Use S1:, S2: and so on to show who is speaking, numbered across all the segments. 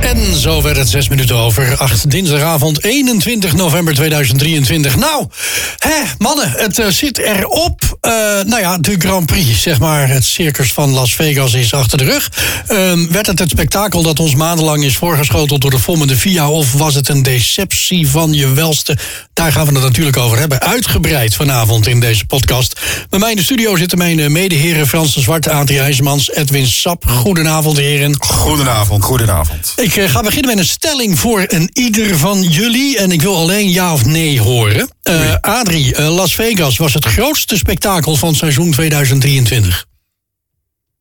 S1: En zo werd het zes minuten over acht dinsdagavond 21 november 2023. Nou, hè, mannen, het eh, zit erop. Eh nou ja, de Grand Prix, zeg maar, het circus van Las Vegas is achter de rug. Ehm, werd het het spektakel dat ons maandenlang is voorgeschoteld door de volgende VIA... of was het een deceptie van je welste? Daar gaan we het natuurlijk over hebben. Uitgebreid vanavond in deze podcast. Bij mij in de studio zitten mijn eh, medeheren Frans de Zwart, Adrie IJsmans, Edwin Sap. Goedenavond, heren.
S2: Goedenavond. Goedenavond.
S1: Ik eh, ga beginnen met een stelling voor een ieder van jullie. En ik wil alleen ja of nee horen. Eh, Adrie, eh, Las Vegas was het grootste spektakel van seizoen 2023.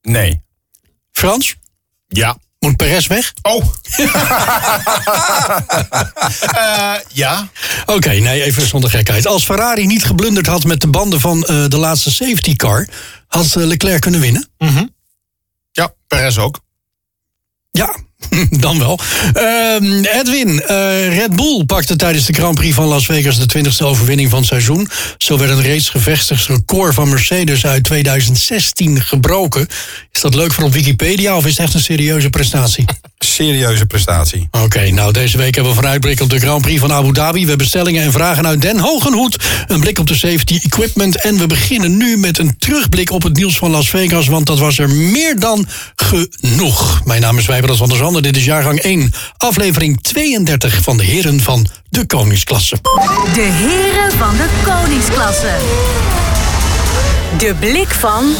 S2: Nee.
S1: Frans,
S2: Ja.
S1: moet Perez weg?
S2: Oh. Eh, ja.
S1: Oké, nee, even zonder gekheid. Als Ferrari niet geblunderd had met de banden van eh, de laatste safety car... had eh, Leclerc kunnen winnen?
S2: Ja, Perez ook.
S1: Ja, dan wel. Ehm, Edwin, eh, Red Bull pakte tijdens de Grand Prix van Las Vegas de 20e overwinning van het seizoen. Zo werd een reeds gevestigd record van Mercedes uit 2016 gebroken. Is dat leuk voor op Wikipedia of is het echt een serieuze prestatie?
S2: Serieuze prestatie.
S1: Oké, nou deze week hebben we vooruitblik op de Grand Prix van Abu Dhabi. We hebben stellingen en vragen uit Den Hogenhoed. Een blik op de safety equipment. En we beginnen nu met een terugblik op het nieuws van Las Vegas. Want dat was er meer dan genoeg. Mijn naam is Wijbrand van der Zanden. Dit is jaargang 1, aflevering 32 van de Heren van de Koningsklasse.
S3: De heren van de koningsklasse. De blik van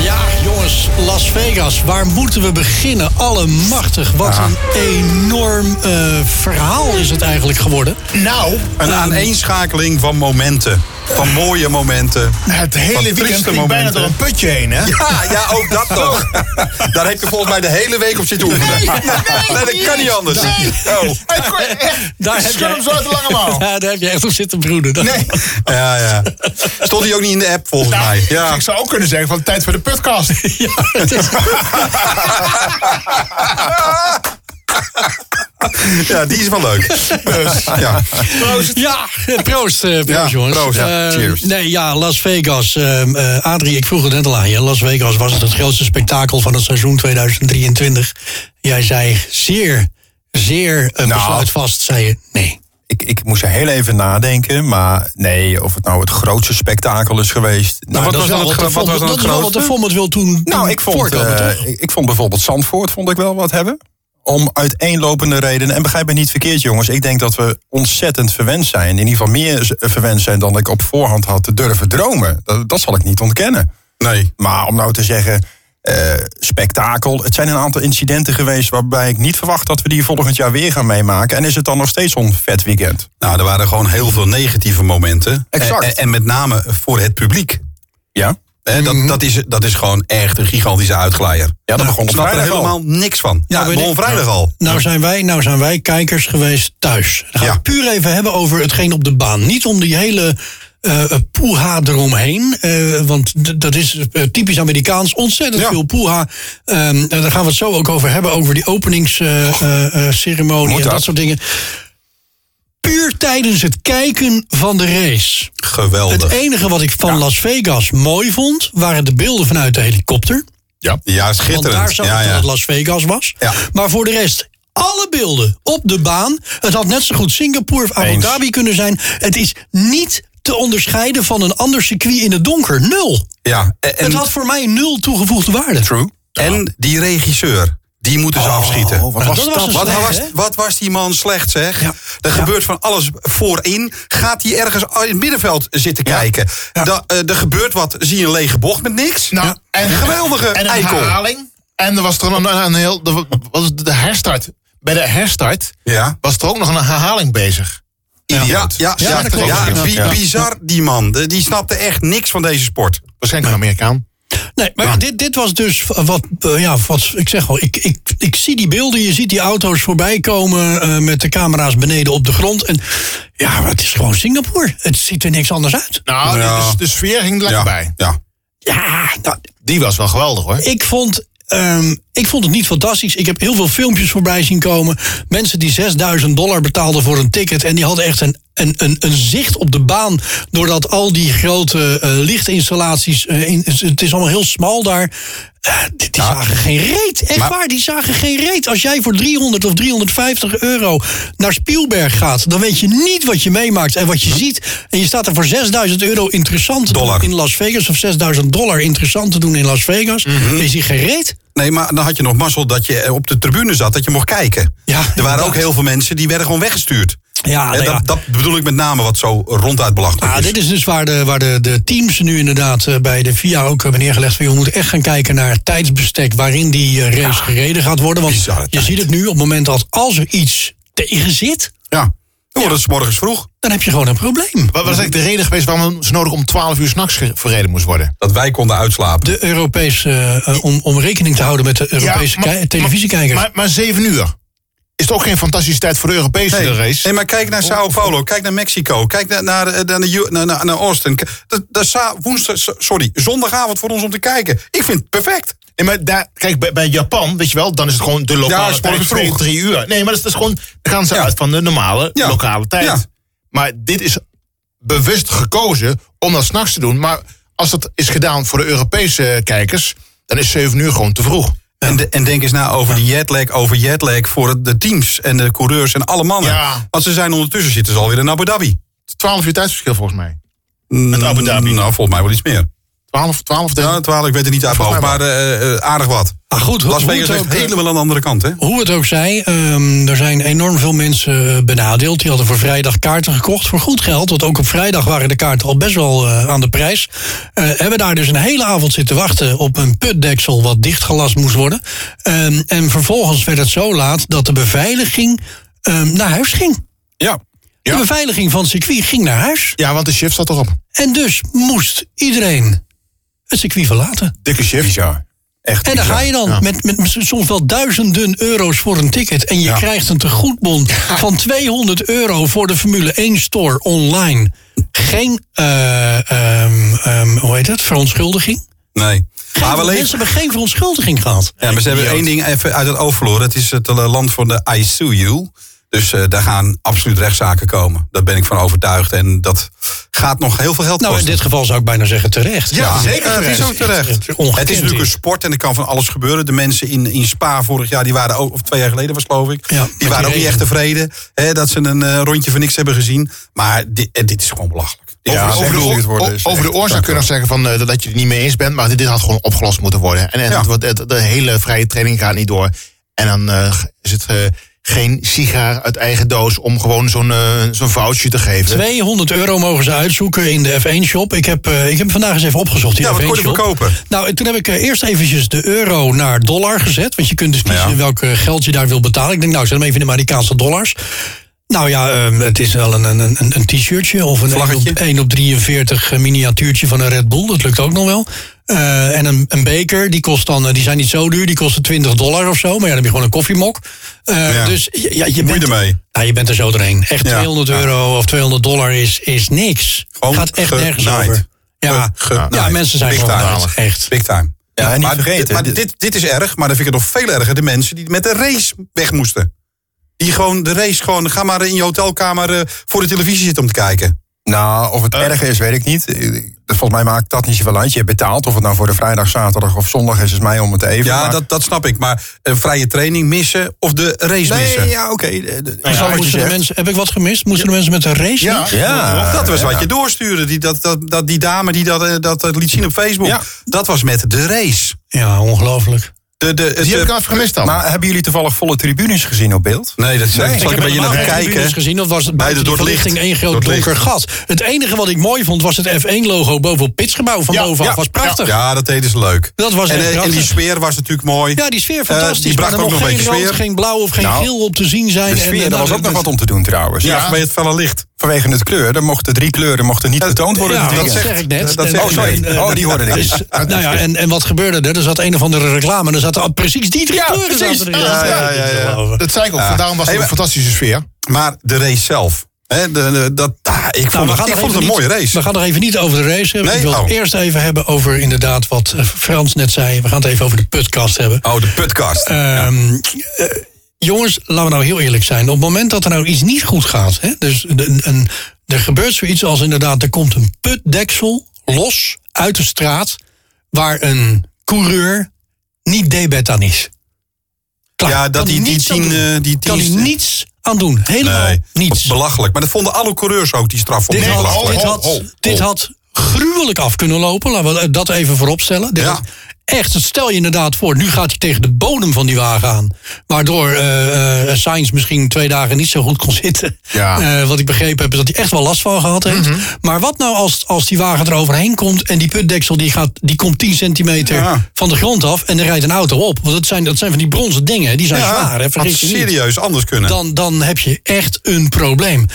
S1: Ja, jongens, Las Vegas, waar moeten we beginnen? Allemachtig, wat een enorm eh, verhaal is het eigenlijk geworden.
S4: Nou,
S2: Een aaneenschakeling van momenten. Van mooie momenten.
S4: het
S2: Van
S4: hele weekend
S2: trieste
S4: ging bijna
S2: momenten.
S4: door een putje heen, hè?
S2: Ja, ja, ook dat nog. Daar heb je volgens mij de hele week op zitten oefenen. Nee, dat kan niet anders. Oh.
S4: Hey, Cor, echt,
S1: Daar heb
S4: schud
S1: jij-
S4: hem zo uit de lange mouw.
S1: Ja, daar heb je echt op zitten broeden. Dat-
S4: Nee,
S2: Ja, ja. Stond hij ook niet in de app volgens
S4: nou,
S2: mij. Ja.
S4: ik zou ook kunnen zeggen van tijd voor de podcast.
S1: Ja, het is-
S2: ja, die is wel leuk. Dus, ja.
S1: ja, eh, proost, eh, proost
S2: Ja,
S1: jongens.
S2: proost, ja.
S1: Eh,
S2: Cheers.
S1: nee, ja, Las Vegas. ehm, eh, Adrie, ik vroeg het net al aan je. Las Vegas was het, het grootste spektakel van het seizoen 2023. Jij zei zeer, zeer eh,
S2: Nou.
S1: besluitvast, zei je nee.
S2: Ik, ik moest er heel even nadenken, maar nee, of het nou het grootste spektakel is geweest. Nou,
S1: Maar dat is wel wat de
S2: gro-
S1: Vond- dat is wel wat de Vommet wil toen
S2: Nou,
S1: toen
S2: ik vond,
S1: voorkomen,
S2: eh,
S1: toch?
S2: ik, ik vond bijvoorbeeld Zandvoort vond ik wel wat hebben. Om uiteenlopende redenen. En begrijp me niet verkeerd, jongens. Ik denk dat we ontzettend verwend zijn. In ieder geval meer z- verwend zijn dan ik op voorhand had te durven dromen. Dat, dat zal ik niet ontkennen. Nee. Maar om nou te zeggen, eh, spektakel. Het zijn een aantal incidenten geweest waarbij ik niet verwacht dat we die volgend jaar weer gaan meemaken. En is het dan nog steeds zo'n vet weekend?
S5: Nou, er waren gewoon heel veel negatieve momenten.
S2: Exact.
S5: En, en- en met name voor het publiek.
S2: Ja?
S5: Hè, dat, dat, is, dat is gewoon echt een gigantische uitglijer.
S2: Ja, dat begon
S5: Ik
S2: op
S5: snap er
S2: vrijdag al.
S5: helemaal niks van. Ja,
S1: Nou,
S5: het
S1: weet
S5: begon
S1: ik-
S5: vrijdag al.
S1: Nou zijn, wij, nou zijn wij kijkers geweest thuis. Dan gaan we
S5: Ja.
S1: het puur even hebben over hetgeen op de baan. Niet om die hele eh poeha eromheen. eh, want d- dat is eh, typisch Amerikaans. Ontzettend veel poeha. Ehm, en daar gaan we het zo ook over hebben. Over die eh, openingsceremonie en dat soort dingen. Puur tijdens het kijken van de race. Het
S2: e-
S5: Geweldig.
S1: enige wat ik van Las Vegas mooi vond... waren de beelden vanuit de helikopter.
S5: Ja, ja
S1: Want daar
S5: schitterend.
S1: zag
S5: Ja,
S1: ik dat
S5: ja.
S1: het Las Vegas was.
S5: Ja.
S1: Maar voor de rest, alle beelden op de baan. Het had net zo goed Singapore of Abu
S2: Eens.
S1: Dhabi kunnen zijn. Het is niet te onderscheiden van een ander circuit in het donker. Nul.
S2: Ja, en,
S1: het
S2: en,
S1: had voor mij nul toegevoegde waarde. True.
S2: en die regisseur, die moeten ze afschieten.
S6: wat
S1: Nou. Oh, was dat? was
S2: Wat
S1: slecht,
S2: was,
S1: hè?
S2: wat was die man slecht, zeg?
S1: Ja.
S2: Er gebeurt van alles voorin. Gaat hij ergens in het middenveld zitten kijken? Da- eh, er gebeurt wat, zie je een lege bocht met niks?
S7: Nou,
S2: en,
S7: en,
S2: Geweldige
S7: en een
S2: eikel.
S7: herhaling. En er was er een, een heel. er was de herstart. Bij de herstart
S2: Ja.
S7: was er ook nog een herhaling bezig.
S2: Ja, ja, ja,
S1: Ja,
S2: ja,
S1: dat klopt.
S2: ja, bi-
S7: Ja.
S2: bizar die man. De- Die snapte echt niks van deze sport.
S7: Waarschijnlijk een Amerikaan.
S1: Nee, maar dit, dit was dus wat, eh, ja, wat ik zeg al, ik, ik, ik zie die beelden, je ziet die auto's voorbij komen eh, met de camera's beneden op de grond. En ja, maar het is gewoon Singapore. Het ziet er niks anders uit.
S7: Nou, de-
S2: Ja.
S7: de, de sfeer ging er lekker
S2: Ja,
S7: bij.
S2: ja.
S1: Ja, nou,
S7: Die was wel geweldig hoor.
S1: ik vond, ehm, ik vond het niet fantastisch. Ik heb heel veel filmpjes voorbij zien komen. Mensen die 6000 dollar betaalden voor een ticket. En die hadden echt een, een, een, een zicht op de baan. Doordat al die grote eh, lichtinstallaties. eh, in, het is allemaal heel smal daar. Eh, die die zagen geen reet. Echt waar, die zagen geen reet. Als jij voor 300 of 350 euro naar Spielberg gaat. dan weet je niet wat je meemaakt en wat je ziet. En je staat er voor 6000 euro interessant te doen
S2: Dollar.
S1: in Las Vegas. of 6000 dollar interessant te doen in Las Vegas. Is die gereed?
S2: Nee, maar dan had je nog mazzel dat je eh, op de tribune zat, dat je mocht kijken.
S1: Ja,
S2: er waren
S1: inderdaad.
S2: ook heel veel mensen die werden gewoon weggestuurd.
S1: Ja,
S2: Eh,
S1: nou ja.
S2: dat, dat bedoel ik met name wat zo ronduit belachelijk
S1: Ah,
S2: is.
S1: dit is dus waar, de, waar de, de teams nu inderdaad eh, bij de VIA ook hebben neergelegd. Van, je moet echt gaan kijken naar het tijdsbestek waarin die eh, race gereden gaat worden. Want
S2: bizarre
S1: je
S2: tijd.
S1: ziet het nu op het moment dat als er iets tegen zit,
S2: Ja. Dan wordt het 's morgens vroeg.
S1: dan heb je gewoon een probleem.
S7: Wat was eigenlijk de reden geweest waarom zo nodig om 12 uur s'nachts verreden moest worden?
S2: Dat wij konden uitslapen.
S1: De Europese, eh, eh, om, om rekening te houden met de Europese
S7: maar-
S1: ki- televisiekijkers.
S7: Maar, maar 7 uur. Is het ook geen fantastische tijd voor de Europese
S2: Nee,
S7: race?
S2: nee, maar kijk naar Sao Paulo, kijk naar Mexico, kijk naar, naar, eh, naar, de U- naar, naar, naar Austin. K- Dat, dat is za- woensdag, s- sorry, zondagavond voor ons om te kijken. Ik vind het perfect.
S7: Nee, maar daar, kijk, bij, bij Japan, weet je wel, dan is het gewoon de lokale
S2: Ja, s
S7: tijd,
S2: morgens
S7: twee,
S2: vroeg.
S7: drie uur. Nee, maar dat is, dat is gewoon, dan gaan ze uit van de normale
S2: Ja.
S7: lokale tijd.
S2: Ja.
S7: Maar dit is bewust gekozen om dat s'nachts te doen. Maar als dat is gedaan voor de Europese kijkers, dan is 7 uur gewoon te vroeg.
S2: En, de- en denk eens na over die jetlag, over jetlag voor het- de teams en de coureurs en alle mannen.
S7: Ja.
S2: Want ze zijn ondertussen zitten ze alweer in Abu Dhabi.
S7: 12 uur tijdsverschil volgens mij.
S2: Met
S7: Abu Dhabi.
S2: Nou, volgens mij wel iets meer.
S7: 12, 12, 13.
S2: Ja, 12, ik weet het niet uit mijn hoofd,
S7: Volgens mij
S2: maar eh, eh, aardig wat.
S1: Maar goed, hoe-
S2: Las
S1: hoe
S2: Vegas
S1: het
S2: ligt
S1: ook, eh,
S2: helemaal aan de andere kant, hè?
S1: Hoe het ook zij, ehm, er zijn enorm veel mensen eh, benadeeld. Die hadden voor vrijdag kaarten gekocht voor goed geld. Want ook op vrijdag waren de kaarten al best wel eh, aan de prijs. Eh, hebben daar dus een hele avond zitten wachten op een putdeksel wat dichtgelast moest worden. Ehm, en vervolgens werd het zo laat dat de beveiliging ehm, naar huis ging.
S2: Ja.
S1: De beveiliging van het circuit ging naar huis.
S7: Ja, want de shift staat erop.
S1: En dus moest iedereen het circuit verlaten.
S7: Dikke shift.
S6: Bizar. Echt
S1: En daar
S6: bizar.
S1: ga je dan. Met, met soms wel duizenden euro's voor een ticket. En je krijgt een tegoedbon van 200 euro voor de Formule 1 store online. Geen, eh, ehm, ehm, hoe heet het, verontschuldiging.
S2: Nee. Maar we leven,
S1: Mensen hebben geen verontschuldiging gehad.
S2: Ja, maar ze hebben één ding even uit het oog verloren. Het is het eh, land van de I sue you. Dus eh, daar gaan absoluut rechtszaken komen. Daar ben ik van overtuigd. En dat gaat nog heel veel geld
S1: Nou, in
S2: kosten.
S1: dit geval zou ik bijna zeggen terecht.
S2: Ja, eh, Het is
S1: terecht.
S2: ook terecht.
S1: Het is ongekend,
S2: Het is natuurlijk
S1: dit.
S2: een sport en er kan van alles gebeuren. De mensen in, in Spa vorig jaar, die waren ook, of twee jaar geleden was het, geloof ik,
S1: Ja, met die
S2: die waren ook niet
S1: regen.
S2: echt tevreden hè, dat ze een eh, rondje van niks hebben gezien. Maar dit, eh, dit is gewoon belachelijk.
S7: Over,
S2: Ja,
S7: de- over,
S2: echt
S7: de,
S2: hoe
S7: oor-
S2: het wordt
S7: o-
S2: is
S7: over de
S2: echt
S7: oorzaak kun je nog zeggen van, eh, dat je het niet mee eens bent, maar dit, dit had gewoon opgelost moeten worden. En, en
S2: Ja.
S7: het wordt- het- de hele vrije training gaat niet door. En dan eh, is het eh, geen sigaar uit eigen doos om gewoon zo'n eh, zo'n foutje te geven.
S1: 200 euro mogen ze uitzoeken in de F1-shop. Ik heb, eh, ik heb vandaag eens even opgezocht. Die
S2: Ja, wat
S1: F1
S2: kon je
S1: shop.
S2: verkopen?
S1: Nou, en toen heb ik eh, eerst eventjes de euro naar dollar gezet. Want je kunt dus kiezen
S2: Ja.
S1: welk eh, geld je daar wil betalen. Ik denk, nou, ik zet hem even in de Amerikaanse dollars. Nou ja, ehm, het is wel een, een, een, een t-shirtje of een 1
S2: Vlaggetje.
S1: op, 1 op 43 miniatuurtje van een Red Bull. Dat lukt ook nog wel. Eh, en een, een beker, die, kost dan, eh, die zijn niet zo duur. Die kosten 20 dollar of zo. Maar ja, dan heb je gewoon een koffiemok. Eh,
S2: Ja.
S1: Dus ja, ja, je, bent,
S2: ermee.
S1: Ja, je bent er zo doorheen. Echt
S2: Ja.
S1: 200
S2: Ja.
S1: euro of 200 dollar is, is niks.
S2: Gewoon
S1: Gaat echt nergens
S2: genaaid.
S1: over. Ja,
S2: Ge- genaaid.
S1: ja mensen zijn
S2: Big
S1: gewoon
S2: time.
S1: betalig. Echt.
S2: Big time.
S6: Ja, en niet
S2: maar
S6: vergeten,
S2: dit, maar
S6: dit-
S2: dit, dit is erg, maar dan vind ik het nog veel erger. De mensen die met de race weg moesten. Die gewoon de race gewoon, ga maar in je hotelkamer eh, voor de televisie zitten om te kijken.
S6: Nou, of het erger is, weet ik niet. Dus volgens mij maakt dat niet zoveel uit. Je betaalt, of het nou voor de vrijdag, zaterdag of zondag is, is mij om het even.
S2: Ja,
S6: maar-
S2: dat, dat snap ik. Maar een vrije training missen of de race missen.
S6: Nee, ja, oké. Eh, De- de- ik snap wat je
S1: moesten de
S6: zegt.
S1: mensen, heb ik wat gemist? Moesten de mensen met de race
S7: Ja.
S1: niet?
S6: Ja,
S2: dat was
S6: ja.
S2: wat je doorstuurde. Die, dat, dat, dat, die dame die dat, eh, dat, dat liet zien op Facebook.
S6: Ja.
S2: Dat was met de race.
S1: Ja, ongelooflijk.
S2: De, de, het,
S7: Die heb ik
S2: eh,
S7: even gemist dan.
S6: Maar hebben jullie toevallig volle tribunes gezien op beeld?
S2: nee, dat zal ik een beetje
S1: helemaal
S2: naar
S1: geen tribunes
S2: kijken.
S1: gezien, dat was bij de
S2: door het
S1: verlichting
S2: licht.
S1: één groot
S2: Door het
S1: donker
S2: licht.
S1: gat. Het enige wat ik mooi vond was het F1-logo boven op pitsgebouw van
S7: Ja,
S1: bovenaf.
S7: ja,
S1: was prachtig. Ja,
S2: Ja, dat deden ze leuk.
S1: Dat was
S2: en,
S1: echt
S2: eh, en die
S1: prachtig.
S2: sfeer was natuurlijk mooi.
S1: die sfeer
S2: Eh,
S1: fantastisch.
S2: die bracht
S1: maar er
S2: ook
S1: mocht
S2: nog een
S1: geen
S2: beetje
S1: rood,
S2: sfeer.
S1: geen blauw of geen
S6: Nou,
S1: geel op te zien zijn.
S6: De
S1: En, eh,
S6: sfeer, er
S1: nou,
S6: was ook
S1: dat-
S6: nog wat om te doen trouwens.
S2: Ja,
S7: Ja.
S2: vanwege het felle licht. Eh,
S6: Vanwege het kleur, er mochten drie kleuren mochten niet getoond worden.
S1: Ja,
S6: dit
S1: dat
S6: weekend.
S1: zeg ik net.
S2: Dat zeg
S1: En-
S2: ik net.
S1: en- en-
S6: Oh, die hoorde ik.
S1: Dus, nou ja, en, en wat gebeurde er? Er zat een of andere reclame. Er zaten al precies die drie
S6: Ja,
S1: kleuren
S6: precies.
S1: zaten erin.
S7: Ja,
S2: ja, ja, ja.
S7: Dat zei ik ook,
S2: Ja.
S7: daarom was het
S2: Hey,
S7: een fantastische sfeer.
S2: Maar de race zelf. Hè, de, de- dat, ah, ik
S1: Nou,
S2: vond, het,
S1: nog
S2: ik vond het
S1: even
S2: een mooie
S1: niet- We
S2: race.
S1: gaan nog even niet over de race hebben.
S2: Nee?
S1: Ik wil het
S2: Oh.
S1: eerst even hebben over inderdaad wat eh, Frans net zei. We gaan het even over de podcast hebben.
S2: Oh, de podcast.
S1: Ehm, eh, jongens, laten we nou heel eerlijk zijn. Op het moment dat er nou iets niet goed gaat... Hè, dus een, een- er gebeurt zoiets als inderdaad... er komt een putdeksel los uit de straat... waar een coureur niet debet aan is. Klaar.
S2: ja,
S1: Kan
S2: dat die,
S1: hij
S2: die
S1: niets aan
S2: tien...
S1: doen.
S2: eh, die tien
S1: Kan hij niets aan doen. Helemaal
S6: nou,
S2: Nee,
S1: niets.
S2: belachelijk. Maar dat vonden alle coureurs ook, die straf.
S1: Dit
S2: vonden ik
S1: had,
S2: belachelijk.
S1: dit,
S7: Oh, oh,
S1: had,
S7: oh.
S1: dit had gruwelijk af kunnen lopen. Laten we dat even vooropstellen. Dit
S2: Ja.
S1: had- echt, het stel je inderdaad voor. Nu gaat hij tegen de bodem van die wagen aan. Waardoor eh eh, Sainz misschien twee dagen niet zo goed kon zitten.
S7: Ja.
S1: Eh, wat ik begrepen heb is dat hij echt wel last van gehad heeft.
S2: Mhm.
S1: Maar wat nou als, als die wagen er overheen komt... en die putdeksel die gaat, die komt 10 centimeter
S2: Ja.
S1: van de grond af... en er rijdt een auto op. Want dat zijn, dat zijn van die bronzen dingen. hè. Die zijn zwaar, hè?
S2: had
S1: vergis je niet
S2: serieus anders kunnen.
S1: dan, dan heb je echt een probleem.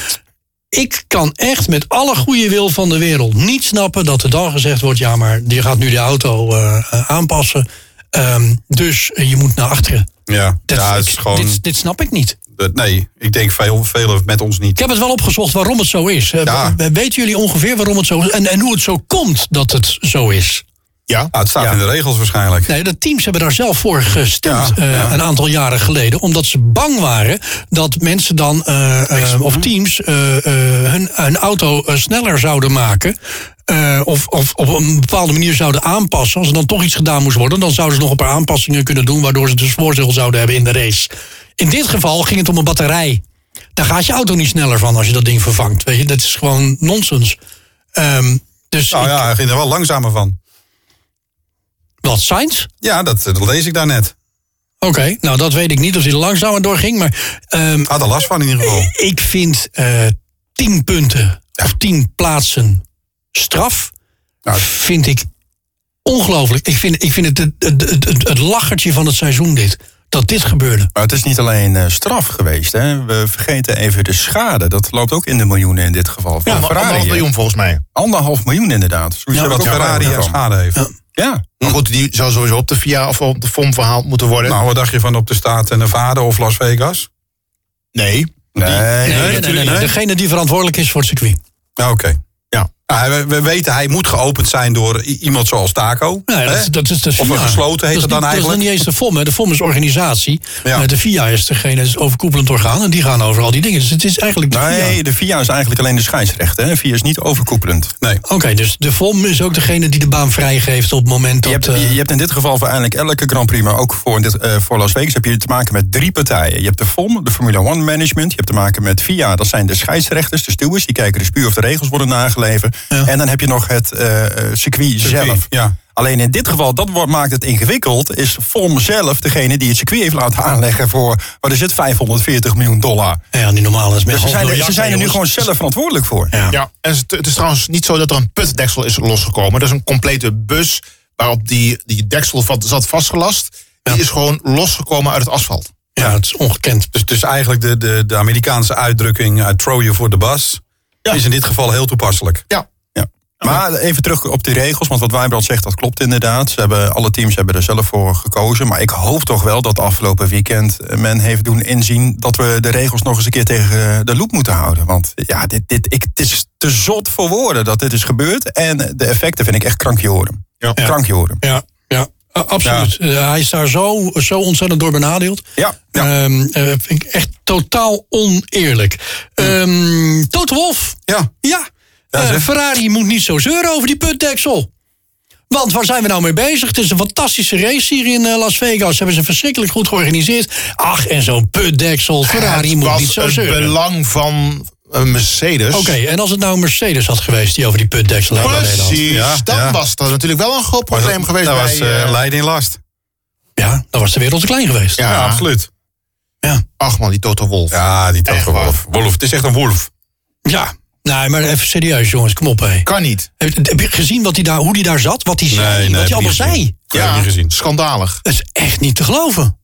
S1: Ik kan echt met alle goede wil van de wereld niet snappen dat er dan gezegd wordt: ja, maar je gaat nu de auto eh, eh, aanpassen. Ehm, dus eh, je moet naar achteren.
S2: ja,
S1: Dat-
S2: ja het is
S1: ik-
S2: gewoon...
S1: dit, dit snap ik niet.
S2: dat- nee, ik denk veel, velen met ons niet.
S1: Ik heb het wel opgezocht waarom het zo is. Eh,
S2: Ja.
S1: we- Weten jullie ongeveer waarom het zo is? En, en hoe het zo komt dat het zo is?
S7: Ja.
S2: Ah, het staat in de regels waarschijnlijk.
S1: Nee, de teams hebben daar zelf voor gestemd
S2: Ja,
S1: eh,
S2: ja.
S1: een aantal jaren geleden. Omdat ze bang waren dat mensen dan, eh, eh, of teams, eh, eh, hun, hun auto eh, sneller zouden maken. eh, of, of op een bepaalde manier zouden aanpassen. Als er dan toch iets gedaan moest worden, dan zouden ze nog een paar aanpassingen kunnen doen. Waardoor ze dus voordeel zouden hebben in de race. In dit geval ging het om een batterij. Daar gaat je auto niet sneller van als je dat ding vervangt. Weet je, dat is gewoon nonsens. Ehm, dus
S2: Nou ja, hij ging er wel langzamer van.
S1: ik- wat, Sainz?
S2: Ja, dat, dat lees ik daar net.
S1: Oké, nou dat weet ik niet of hij er langzamer doorging. Maar ehm,
S2: Had er last van in ieder geval.
S1: ik vind eh tien punten of tien plaatsen straf.
S2: Nou,
S1: vind ik ongelooflijk. Ik vind, ik vind het, het, het, het, het lachertje van het seizoen dit. Dat dit gebeurde.
S6: Maar het is niet alleen eh, straf geweest. Hè? We vergeten even de schade. Dat loopt ook in de miljoenen in dit geval. Van
S7: Ja, maar
S6: Ferrari,
S7: anderhalf
S6: hè?
S7: miljoen volgens mij.
S6: Anderhalf miljoen inderdaad. Zoiets
S2: Ja,
S6: heb
S2: wat
S6: ik ook
S2: Ferrari aan
S6: ervaren.
S2: schade heeft.
S6: Ja.
S7: Maar goed, die zou sowieso op de VIA of op de FOM verhaald moeten worden.
S2: Hm. Nou, wat dacht je van op de staat en Nevada of Las Vegas?
S7: nee.
S6: Nee,
S1: Nee, nee, nee, nee,
S2: natuurlijk niet.
S1: Degene die verantwoordelijk is voor het circuit.
S2: Ja, Nou, oké.
S7: Ja.
S2: Ah, we, we weten, hij moet geopend zijn door i- iemand zoals Taco.
S1: Nee,
S2: hè?
S1: dat, dat is de
S2: Of een
S1: FIA.
S2: gesloten
S1: dat
S2: heet
S1: is
S2: dat dan
S1: niet-
S2: eigenlijk?
S1: Dat is dan niet eens de FOM. Hè. De FOM is organisatie.
S2: Ja.
S1: Eh, De FIA is degene, is het overkoepelend orgaan. En die gaan over al die dingen. Dus het is eigenlijk de FIA.
S6: Nee, de VIA is eigenlijk alleen de scheidsrechter. hè. VIA is niet overkoepelend.
S2: Nee.
S1: Oké, dus de VOM is ook degene die de baan vrijgeeft op het moment
S6: Je
S1: dat...
S6: hebt,
S1: eh,
S6: je hebt in dit geval voor eigenlijk elke Grand Prix, maar ook voor, in dit, eh, voor Las Vegas, heb je te maken met drie partijen. Je hebt de FOM, de Formula One Management. Je hebt te maken met FIA, dat zijn de scheidsrechters, de stewards. Die kijken dus puur of de regels worden nageleven. En dan heb je nog het eh, eh, circuit, zelf.
S2: ja.
S6: Alleen in dit geval, dat wordt, maakt het ingewikkeld, is FOM zelf degene die het circuit heeft laten aanleggen voor, wat is het, 540 miljoen dollar.
S1: ja, die normale is met
S6: Dus ze
S1: half
S6: zijn, er,
S1: miljard,
S6: ze zijn er
S1: hè,
S6: nu gewoon
S1: jongens.
S6: zelf verantwoordelijk voor.
S1: Ja.
S7: Ja, en het, het is trouwens niet zo dat er een putdeksel is losgekomen. Dat is een complete bus waarop die, die deksel vat- zat vastgelast. Die is gewoon losgekomen uit het asfalt.
S1: Ja, het is ongekend.
S2: Dus, dus eigenlijk de, de, de Amerikaanse uitdrukking I throw you for the bus... is in dit geval heel toepasselijk.
S7: Ja.
S6: Ja. Maar even terug op die regels, want wat Wijbrand zegt, dat klopt inderdaad. Ze hebben, alle teams hebben er zelf voor gekozen. Maar ik hoop toch wel dat afgelopen weekend eh, men heeft doen inzien... dat we de regels nog eens een keer tegen eh, de loep moeten houden. Want ja, dit, dit, ik, het is te zot voor woorden dat dit is gebeurd. En de effecten vind ik echt krankjoren.
S7: Ja.
S6: Krankjoren.
S1: Ja, ja. a- absoluut. Eh, hij is daar zo, zo ontzettend door benadeeld.
S6: Ja, ja.
S1: Ehm, eh, vind ik
S6: Mm.
S1: echt totaal oneerlijk. Ehm Toto Wolf.
S2: Ja.
S1: Ja. Eh, Ferrari moet niet zo zeuren over die putdeksel. Want waar zijn we nou mee bezig? Het is een fantastische race hier in eh, Las Vegas. Ze hebben ze verschrikkelijk goed georganiseerd. Ach, en zo'n putdeksel. Ferrari
S7: het
S1: moet
S7: was
S1: niet zo
S7: het
S1: zeuren. Oké,
S7: belang van een Mercedes.
S1: en als het nou een Mercedes had geweest die over die putdeksel had gereden had.
S7: Precies,
S2: Ja,
S7: dan
S2: ja.
S7: was dat natuurlijk wel een groot probleem
S2: dat,
S7: geweest.
S2: dat
S7: bij,
S2: was eh,
S7: eh,
S2: Leiden in last.
S1: Ja, dan was de wereld te klein geweest.
S7: ja,
S2: Ja, absoluut.
S7: Ach man, die Toto Wolf.
S2: Ja, die Toto
S7: waar.
S2: Wolf. Wolf. Het is echt een wolf.
S1: Ja. Nee, maar even serieus jongens, kom op hé.
S7: Kan niet.
S1: Heb, heb je gezien wat die daar, hoe die daar zat? Wat hij zei?
S2: Nee, nee,
S1: wat
S2: heb ik
S1: hij allemaal
S2: niet gezien.
S1: zei?
S2: Ja. Heb ik niet gezien.
S7: Schandalig.
S1: Dat is echt niet te geloven.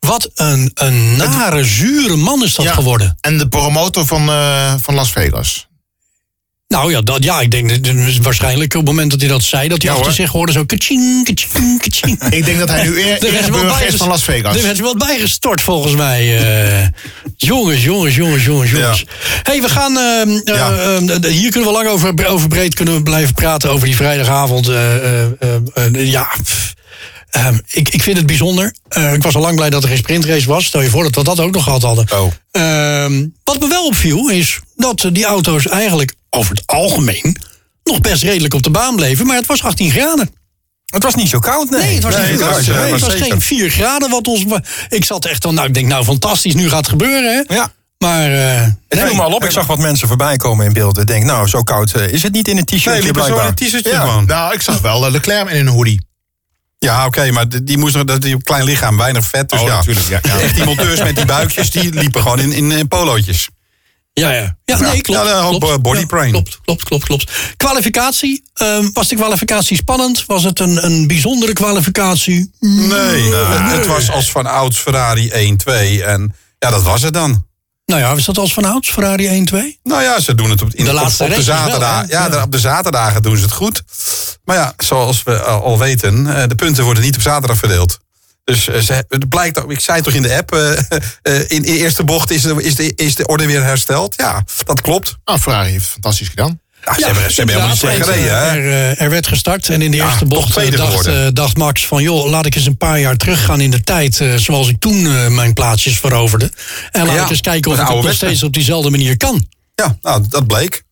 S1: Wat een, een nare, zure man is dat
S7: Ja.
S1: geworden.
S7: En de promotor van, eh, van Las Vegas.
S1: Nou ja, dat, ja, ik denk dat- dat is waarschijnlijk op het moment dat hij dat zei... dat hij
S7: Ja,
S1: achter
S7: hoor.
S1: zich hoorde zo kaching, kaching, kaching.
S7: Ik denk dat hij nu eer,
S1: Er is wat
S7: eerburger is
S1: bijges-
S7: van Las
S1: Er
S7: Vegas.
S1: is wat bijgestort volgens mij. eh. jongens, jongens, jongens, jongens, jongens. hey, we gaan... ehm, eh,
S2: Ja.
S1: ehm, d- d- hier kunnen we lang over, over breed kunnen we blijven praten... over die vrijdagavond. eh, eh, eh, eh, ja, pff. Ehm, ik, ik vind het bijzonder. Eh, ik was al lang blij dat er geen sprintrace was. Stel je voor dat we dat ook nog gehad hadden.
S2: Oh.
S1: Ehm, wat me wel opviel is dat eh, die auto's eigenlijk over het algemeen... nog best redelijk op de baan bleven. Maar het was 18 graden.
S6: Het was niet zo koud, nee.
S1: Nee, het was,
S2: Nee,
S1: niet
S2: het
S1: koud.
S2: was,
S1: Nee,
S2: eh,
S1: het was
S2: was zeker.
S1: geen 4 graden wat ons. wa- Ik zat echt dan, nou, ik denk, nou, fantastisch, nu gaat het gebeuren, hè?
S6: Ja.
S1: Maar. eh,
S6: Het viel me al op. Ik zag wat mensen voorbij komen in beeld. Ik denk, nou, zo koud eh, is het niet in een t-shirtje
S2: Nee, die persoon in
S6: blijkbaar.
S2: een t-shirtje
S6: Ja.
S2: gewoon.
S7: Nou, ik zag wel eh, Leclerc in een hoodie.
S2: Ja, oké, maar d- die moest nog, dat die op klein lichaam, weinig vet. Dus
S7: Oh,
S2: ja.
S7: natuurlijk, ja, ja.
S2: Echt die monteurs met die buikjes, die liepen gewoon in, in, eh, polootjes.
S1: ja, ja. Ja, nee, klopt.
S2: Ja, een hoop,
S1: klopt.
S2: eh, body
S1: Ja,
S2: pain.
S1: Klopt, klopt, klopt, klopt. Kwalificatie. ehm, was de kwalificatie spannend? Was het een, een bijzondere kwalificatie? Mm,
S2: Nee, nou, het was als van ouds Ferrari 1-2. En ja, dat was het dan.
S1: Nou ja, is dat als van ouds, Ferrari 1-2?
S2: Nou ja, ze doen het op, in,
S1: De
S2: op-
S1: laatste
S2: op, de
S1: races wel, hè?
S2: zaterdag. ja,
S1: Ja.
S2: op de zaterdagen doen ze het goed. Maar ja, zoals we al al weten, eh, de punten worden niet op zaterdag verdeeld. Dus eh, ze, het blijkt, ook- ik zei het toch in de app, eh, eh, in, in eerste bocht is de, is, de, is de orde weer hersteld. Ja, dat klopt.
S7: Nou, Ferrari heeft het fantastisch gedaan.
S2: Ja, ze hebben, ze hebben helemaal niet slecht
S1: inderdaad.
S2: gereden.
S1: En,
S2: hè?
S1: eh, Er, eh, er werd gestart en in de eerste
S2: toch
S1: bocht eh,
S2: tweede
S1: dacht,
S2: geworden.
S1: eh, dacht Max van... joh, laat ik eens een paar jaar teruggaan in de tijd... eh, zoals ik toen eh, mijn plaatsjes veroverde. En laat
S2: Ja,
S1: ik eens kijken
S2: dat
S1: of ik het nog
S2: ouderwetse.
S1: steeds op diezelfde manier kan.
S2: Ja, nou, dat bleek.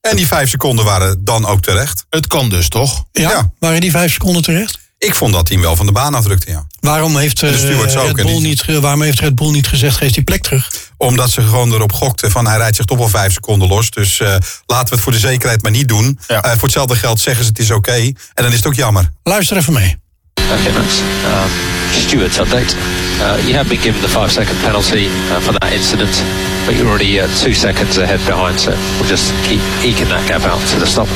S2: En die vijf seconden waren dan ook terecht.
S7: Het kan dus, toch?
S1: Ja,
S2: Ja.
S1: waren die vijf seconden terecht?
S2: Ik vond dat hij hem wel van de baan afdrukte, ja.
S1: Waarom heeft, eh,
S2: De stewards ook,
S1: Red
S2: hè,
S1: Bull
S2: die-
S1: niet, ge- waarom heeft Red Bull niet gezegd, geef die plek terug?
S2: Omdat ze gewoon erop gokten van hij rijdt zich toch wel vijf seconden los. Dus eh, laten we het voor de zekerheid maar niet doen.
S7: Ja.
S2: Eh, voor hetzelfde geld zeggen ze het is oké. En dan is het ook jammer.
S1: Luister even mee.
S8: Okay, that's um, Stewart's update. Uh, you have been given the five second penalty uh, for that incident, but you're already uh, two seconds ahead behind, so we'll just keep eking that gap out to the stop.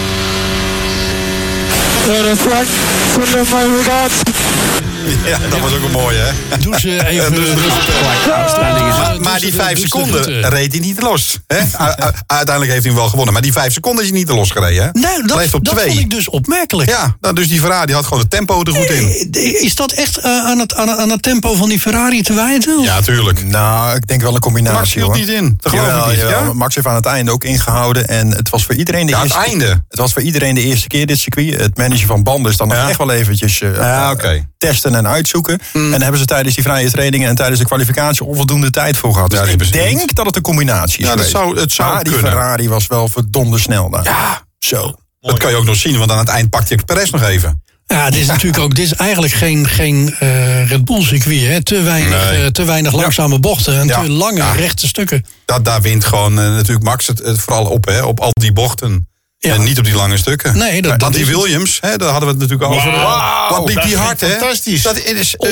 S2: Ja, dat was ook een mooie hè. Oh, dus
S1: Doe ze even...
S2: doe ze
S1: rustig.
S2: Maar,
S1: Doe ze-
S2: maar die vijf
S1: doe ze goed, eh.
S2: seconden reed hij niet los. Hè? U- u- Uiteindelijk heeft hij hem wel gewonnen. Maar die vijf seconden is hij niet los gereden. Hè?
S1: Nou,
S2: Bleef
S1: dat,
S2: op
S1: dat
S2: twee.
S1: vond ik dus opmerkelijk.
S2: Ja, nou, dus die Ferrari had gewoon het tempo er goed in.
S1: Is dat echt eh, aan, het, aan, het- aan het tempo van die Ferrari te wijten? of-
S2: Ja, tuurlijk.
S6: Nou, ik denk wel een combinatie.
S2: Max hield
S6: hoor.
S2: niet in. Dat geloof
S6: Jawel,
S2: ik niet.
S6: jawel.
S2: Ja?
S6: Max heeft aan het einde ook ingehouden. En het was voor iedereen de
S2: Ja, aan het
S6: eerste
S2: einde.
S6: Het was voor iedereen de eerste keer dit circuit. Het managen van banden is dan nog
S2: Ja.
S6: echt wel eventjes eh,
S2: Ja, oké. Hmm.
S6: testen en uitzoeken. En daar hebben ze tijdens die vrije trainingen en tijdens de kwalificatie onvoldoende tijd voor gehad.
S2: Ja,
S6: Dus
S2: die
S6: ik
S2: hebben ze
S6: denk
S2: niet.
S6: dat het een combinatie is
S2: Ja, dat
S6: geweest.
S2: zou- het zou
S6: maar die
S2: kunnen.
S6: Ferrari was wel verdomde snel daar.
S2: Ja,
S6: Zo.
S2: dat kan je ook nog zien. Want aan het eind pakt hij Perez nog even.
S1: Ja, dit is natuurlijk ook dit is eigenlijk geen, geen eh, Red Bull circuit. Hè? Te, weinig,
S2: Nee.
S1: eh, te weinig langzame bochten en
S2: Ja.
S1: te lange
S2: Ja.
S1: rechte stukken.
S2: dat, daar wint gewoon eh, natuurlijk Max het, het vooral op, hè, op al die bochten.
S1: Ja.
S2: En niet op die lange stukken.
S1: Nee, dat- dat
S2: Want die
S1: is het.
S2: Williams, hè, daar hadden we het natuurlijk al over. Wat liep
S7: dat
S2: die
S7: ging
S2: hard, hè?
S7: fantastisch.
S2: Dat is eh,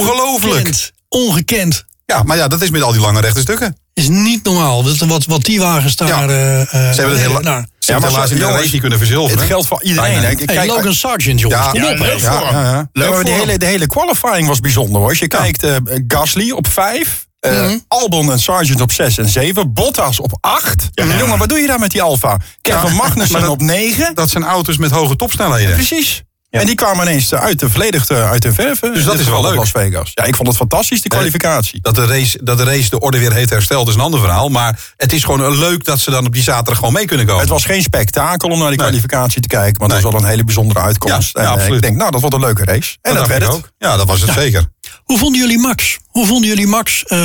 S2: ongelooflijk.
S1: Ongekend. Ongekend.
S2: Ja, maar ja, dat is met al die lange rechte stukken.
S1: Is niet normaal. Wat, wat, wat die wagens daar.
S2: Ja.
S1: eh, eh,
S2: Ze hebben het
S1: nee,
S2: hela-
S1: nou,
S2: ze hebben het helaas in de
S6: jongens,
S2: race niet kunnen verzilveren.
S6: Het geldt voor iedereen.
S2: Bijna.
S6: hè. Kijk,
S1: hey, Logan Sargent, jongens.
S2: Ja,
S1: kom
S2: ja,
S1: op, hè.
S7: leuk voor hem.
S2: ja, ja.
S6: Ja,
S7: Leuk
S6: maar
S7: voor
S6: de,
S7: hem.
S6: hele, de hele qualifying was bijzonder hoor. Als je kijkt, eh, Gasly op vijf, eh, Albon en Sargent op zes en zeven, Bottas op acht. Jongen, wat doe je daar met die Alfa? Kevin Magnussen
S2: maar dat-
S6: op negen.
S2: Dat zijn auto's met hoge topsnelheden.
S6: Precies. En die kwamen ineens eh, uit de, volledig eh, uit hun verven.
S2: Dus dat
S6: Dit
S2: is wel
S6: geval
S2: leuk.
S6: Las Vegas. Ja, ik vond het fantastisch, die
S2: Eh,
S6: kwalificatie.
S2: Dat de, race, dat de race de orde weer heeft hersteld is een ander verhaal. Maar het is gewoon leuk dat ze dan op die zaterdag gewoon mee kunnen komen.
S6: Het was geen spektakel om naar die
S2: Nee.
S6: kwalificatie te kijken. Maar dat
S2: Nee.
S6: was wel een hele bijzondere uitkomst.
S2: Ja,
S6: en,
S2: ja,
S6: eh,
S2: absoluut.
S6: ik denk, nou, dat wordt een leuke race. En dat,
S2: dacht
S6: werd
S2: ik
S6: het.
S2: ook. Ja, dat was het zeker.
S1: Hoe vonden jullie Max? Hoe vonden jullie Max, eh,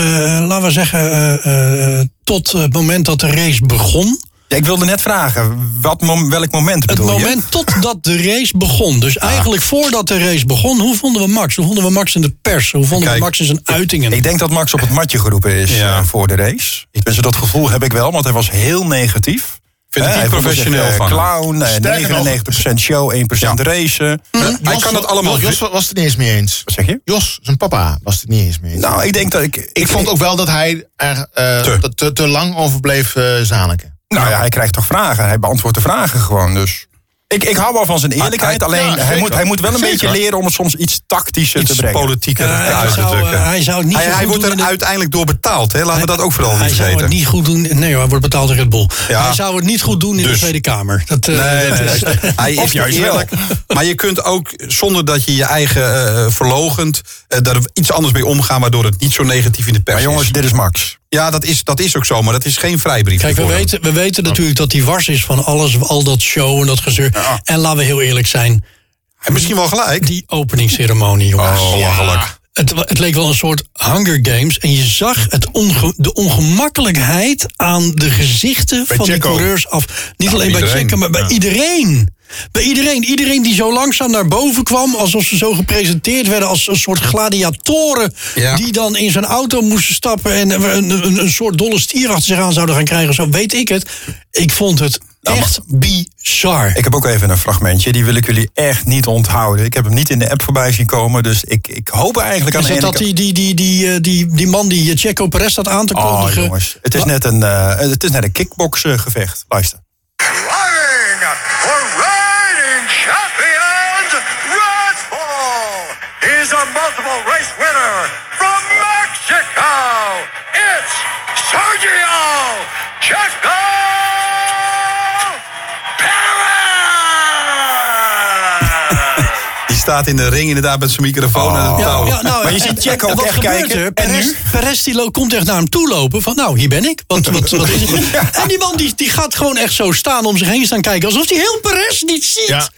S1: laten we zeggen, eh, eh, tot het moment dat de race begon?
S6: Ja, ik wilde net vragen, wat mom- welk moment
S1: Het
S6: bedoel je?
S1: moment totdat de race begon. Dus
S2: Ah.
S1: eigenlijk voordat de race begon, hoe vonden we Max? Hoe vonden we Max in de pers? Hoe vonden we
S6: Kijk,
S1: Max in zijn uitingen?
S6: Ik denk dat Max op het matje geroepen is
S2: Ja.
S6: eh, voor de race. Dus dat gevoel heb ik wel, want hij was heel negatief.
S2: Vind ik
S6: Hè,
S2: niet
S6: hij vond
S2: professioneel
S6: zich, eh,
S2: van hem.
S6: Clown, eh,
S7: Sterker nog-
S6: 99% show, 1%
S2: Mm-hmm.
S6: racen.
S2: Hij
S7: Jos
S2: kan
S7: wa-
S2: dat allemaal.
S7: Jos wa- was het niet eens mee eens.
S6: Wat zeg je?
S7: Jos, zijn papa, was het niet eens mee eens.
S6: Nou, ik denk dat ik...
S7: ik vond ook wel dat hij er eh,
S6: Te.
S7: dat te, te lang over bleef eh zaniken.
S6: Nou ja, hij krijgt toch vragen. Hij beantwoordt de vragen gewoon, dus... Ik, ik hou wel van
S2: Ah,
S6: zijn eerlijkheid,
S7: hij-
S6: alleen
S7: ja,
S6: hij,
S7: zeker.
S6: moet, hij moet wel een
S7: Zeker.
S6: beetje leren om het soms iets tactischer te
S2: Iets
S6: brengen.
S2: politieker
S1: Ja, hij
S2: uit te
S1: zou,
S2: drukken.
S1: eh, hij zou het niet
S2: hij,
S1: zo
S2: hij
S1: goed
S2: wordt
S1: doen
S2: er
S1: in de-
S2: uiteindelijk door betaald. Hè? Laten we dat ook vooral
S1: hij
S2: niet
S1: zou
S2: vergeten.
S1: het niet goed doen. Nee hoor, hij wordt betaald door Red Bull.
S2: Ja.
S1: Hij zou het niet goed doen in de
S2: Dus.
S1: Tweede Kamer. Dat, eh,
S2: Nee,
S1: dat
S2: nee,
S1: is-
S2: nee. Hij
S6: Of
S2: is
S6: juist
S2: juist eerlijk. Maar je kunt ook zonder dat je je eigen eh verlogend eh, daar iets anders mee omgaan, waardoor het niet zo negatief in de pers
S6: Maar jongens,
S2: is.
S6: dit is Max.
S2: Ja, dat is, dat is ook zo, maar dat is geen vrijbrief.
S1: Kijk, we
S2: voor hem.
S1: weten, we weten natuurlijk dat hij wars is van alles, al dat show en dat gezeur. En laten we heel eerlijk zijn,
S2: En misschien wel gelijk.
S1: die openingsceremonie, jongens.
S2: Oh, belachelijk.
S1: Het, wa- het leek wel een soort Hunger Games. En je zag het onge- de ongemakkelijkheid aan de gezichten van de
S7: Checo.
S1: coureurs af. Niet alleen bij
S2: iedereen.
S1: Checo, maar bij iedereen. Bij iedereen. Iedereen die zo langzaam naar boven kwam. Alsof ze zo gepresenteerd werden als een soort gladiatoren.
S2: Ja.
S1: Die dan in zijn auto moesten stappen. En een, een, een- een soort dolle stier achter zich aan zouden gaan krijgen. Zo weet ik het. Ik vond het
S2: Nou,
S1: echt bizar.
S6: Ik heb ook even een fragmentje, die wil ik jullie echt niet onthouden. Ik heb hem niet in de app voorbij zien komen, dus ik, ik hoop eigenlijk aan
S1: Is
S6: de
S1: het
S6: ene
S1: dat
S6: kant-
S1: die, die, die, die, eh, die, die man die eh, Checo Perez staat aan te
S6: Oh
S1: kondigen?
S6: jongens, het is net een, eh het is net een kickboksen gevecht. Luister.
S9: Running for reigning champions, Red Bull. He's a multiple race winner from Mexico. It's Sergio Checo Perez.
S2: Die staat in de ring inderdaad met zijn microfoon en een touw.
S6: Oh. Maar je ziet Checo
S1: nou, en
S6: ook
S1: eh, wat
S6: echt
S1: gebeurt
S6: kijken.
S1: er?
S6: En
S1: Perez,
S6: nu?
S1: Perez die lo- komt echt naar hem toe lopen. Van nou, hier ben ik. Wat, wat, wat is het? En die man die, die gaat gewoon echt zo staan om zich heen staan kijken. Alsof hij heel Perez niet ziet.
S7: Ja.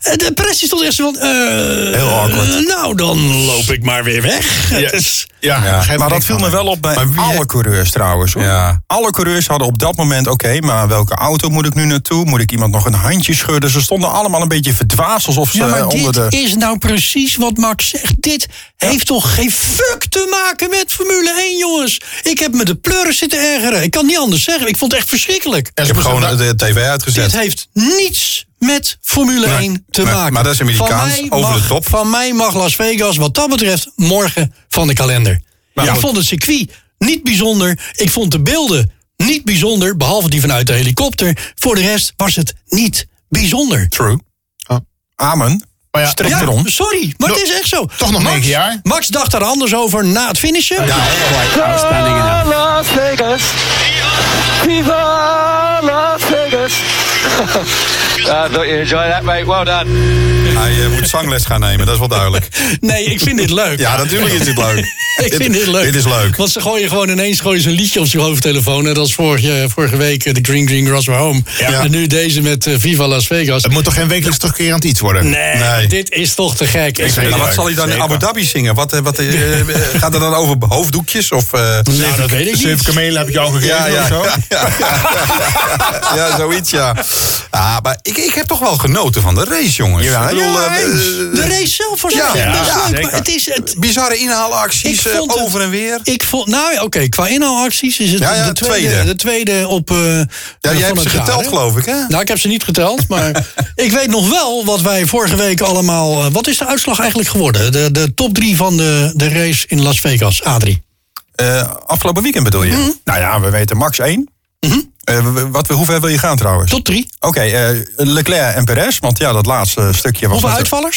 S1: En de Perez is tot eerst van... eh,
S6: awkward.
S1: nou, dan loop ik maar weer weg. Het is-
S7: Ja,
S6: Ja, maar dat viel me wel op bij alle coureurs trouwens. Hoor.
S2: Ja.
S6: Alle coureurs hadden op dat moment, oké, maar welke auto moet ik nu naartoe? Moet ik iemand nog een handje schudden? Ze stonden allemaal een beetje verdwaasd, alsof ze
S1: Ja, maar
S6: eh, onder
S1: dit
S6: de...
S1: is nou precies wat Max zegt. Dit heeft toch geen fuck te maken met Formule 1, jongens. Ik heb me de pleuren zitten ergeren. Ik kan niet anders zeggen. Ik vond het echt verschrikkelijk.
S2: Ik heb gewoon eh,
S7: dat-
S2: de tv uitgezet.
S1: dus Dit heeft niets met Formule 1 te
S2: maar-
S1: maken.
S2: maar dat is Amerikaans,
S1: Van mij
S2: over de
S1: mag-
S2: top.
S1: Van mij mag Las Vegas wat dat betreft morgen van de kalender.
S2: Nou,
S1: ik vond het circuit niet bijzonder. Ik vond de beelden niet bijzonder, behalve die vanuit de helikopter. Voor de rest was het niet bijzonder.
S6: True. Oh. Amen.
S7: Maar ja,
S6: Strik
S7: ja,
S6: erom.
S1: Sorry, maar het is echt zo.
S7: Toch nog
S1: Max,
S7: negen jaar?
S1: Max dacht daar anders over na het finishen.
S10: Las Vegas. Viva Las Vegas.
S8: Uh, thought you enjoyed that, mate. Well done.
S2: Hij eh, moet zangles gaan nemen, dat is wel duidelijk.
S1: Nee, ik vind dit leuk.
S2: Ja, natuurlijk is dit leuk.
S1: Ik vind dit leuk.
S2: Dit is leuk.
S1: Want ze gooien gewoon ineens gooien ze een liedje op zijn hoofdtelefoon. En dat is vorige, vorige week eh, de Green Green Grass We're Home. En nu deze met eh, Viva Las Vegas.
S7: Het moet toch geen wekelijks terugkerend iets worden?
S1: Nee,
S2: Nee.
S1: dit is toch te gek. Ik
S7: vind
S2: Maar
S7: het
S2: wat zal hij dan in
S7: Zeker.
S2: Abu Dhabi zingen? Wat, eh, wat, eh, eh, gaat het dan over hoofddoekjes? Of, eh,
S1: nou, dat weet ik
S7: Zeven
S1: niet.
S7: kamelen heb ik jou gegeven
S2: Ja, ja,
S7: of zo?
S2: ja, ja, ja, ja, zoiets, ja. Ah, maar ik, ik heb toch wel genoten van de race, jongens.
S6: Ja,
S2: Ik bedoel, eh, eh,
S1: De race zelf was
S2: Ja,
S1: echt
S2: ja,
S1: best leuk.
S7: zeker.
S1: Maar het is... Het,
S2: bizarre inhaalacties eh,
S1: vond het-
S2: over en weer.
S1: ik vond, nou ja, oké, qua inhaalacties is het
S2: Ja, ja,
S1: de, tweede,
S2: tweede.
S1: de tweede op... eh,
S2: Ja,
S1: van
S2: jij hebt
S1: het
S2: ze
S1: jaar,
S2: geteld,
S1: hè?
S2: geloof ik, hè?
S1: Nou, ik heb ze niet geteld, maar ik weet nog wel wat wij vorige week allemaal... eh, Wat is de uitslag eigenlijk geworden? De, de top drie van de, de race in Las Vegas, Adrie.
S6: Eh, afgelopen weekend bedoel je?
S1: Mhm.
S6: Nou ja, we weten Max 1. Eh, w- wat, hoe ver wil je gaan trouwens?
S1: Top drie.
S6: Oké, eh, Leclerc en Perez, want ja, dat laatste stukje was...
S1: Hoeveel
S6: natuurlijk-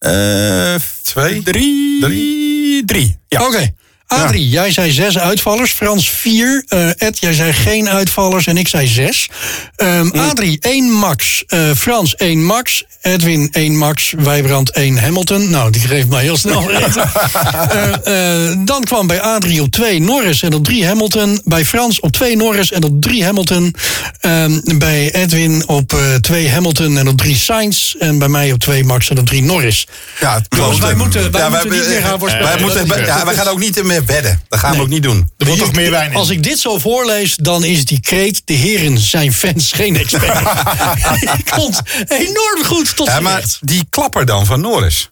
S1: uitvallers?
S6: Eh,
S2: Twee?
S6: Drie. Drie. Ja.
S1: Oké. Adrie, jij zei zes uitvallers. Frans vier. Eh, Ed, jij zei geen uitvallers. En ik zei zes. Ehm, Adrie, één Max. Eh, Frans, één Max. Edwin, één Max. Wijbrand, één Hamilton. Nou, die geeft mij heel snel eten. Eh, eh, dan kwam bij Adrie op twee Norris en op drie Hamilton. Bij Frans op twee Norris en op drie Hamilton. Ehm, bij Edwin op eh, twee Hamilton en op drie Sainz. En bij mij op twee Max en op drie Norris.
S2: Ja, het
S1: Jongens,
S2: klopt.
S1: wij moeten- wij moeten
S2: wij
S1: niet meer gaan
S2: eh,
S1: voorspellen.
S2: Wij, moeten,
S1: Dat is
S2: ja,
S1: juist.
S2: wij gaan ook niet meer meer wedden. Dat gaan we ook niet doen.
S7: Er wordt toch meer wijn in.
S1: Als ik dit zo voorlees, dan is die kreet... de heren zijn fans geen expert. ik vond het enorm goed tot
S2: Ja,
S1: z'n
S2: maar
S1: recht.
S2: die klapper dan van Norris.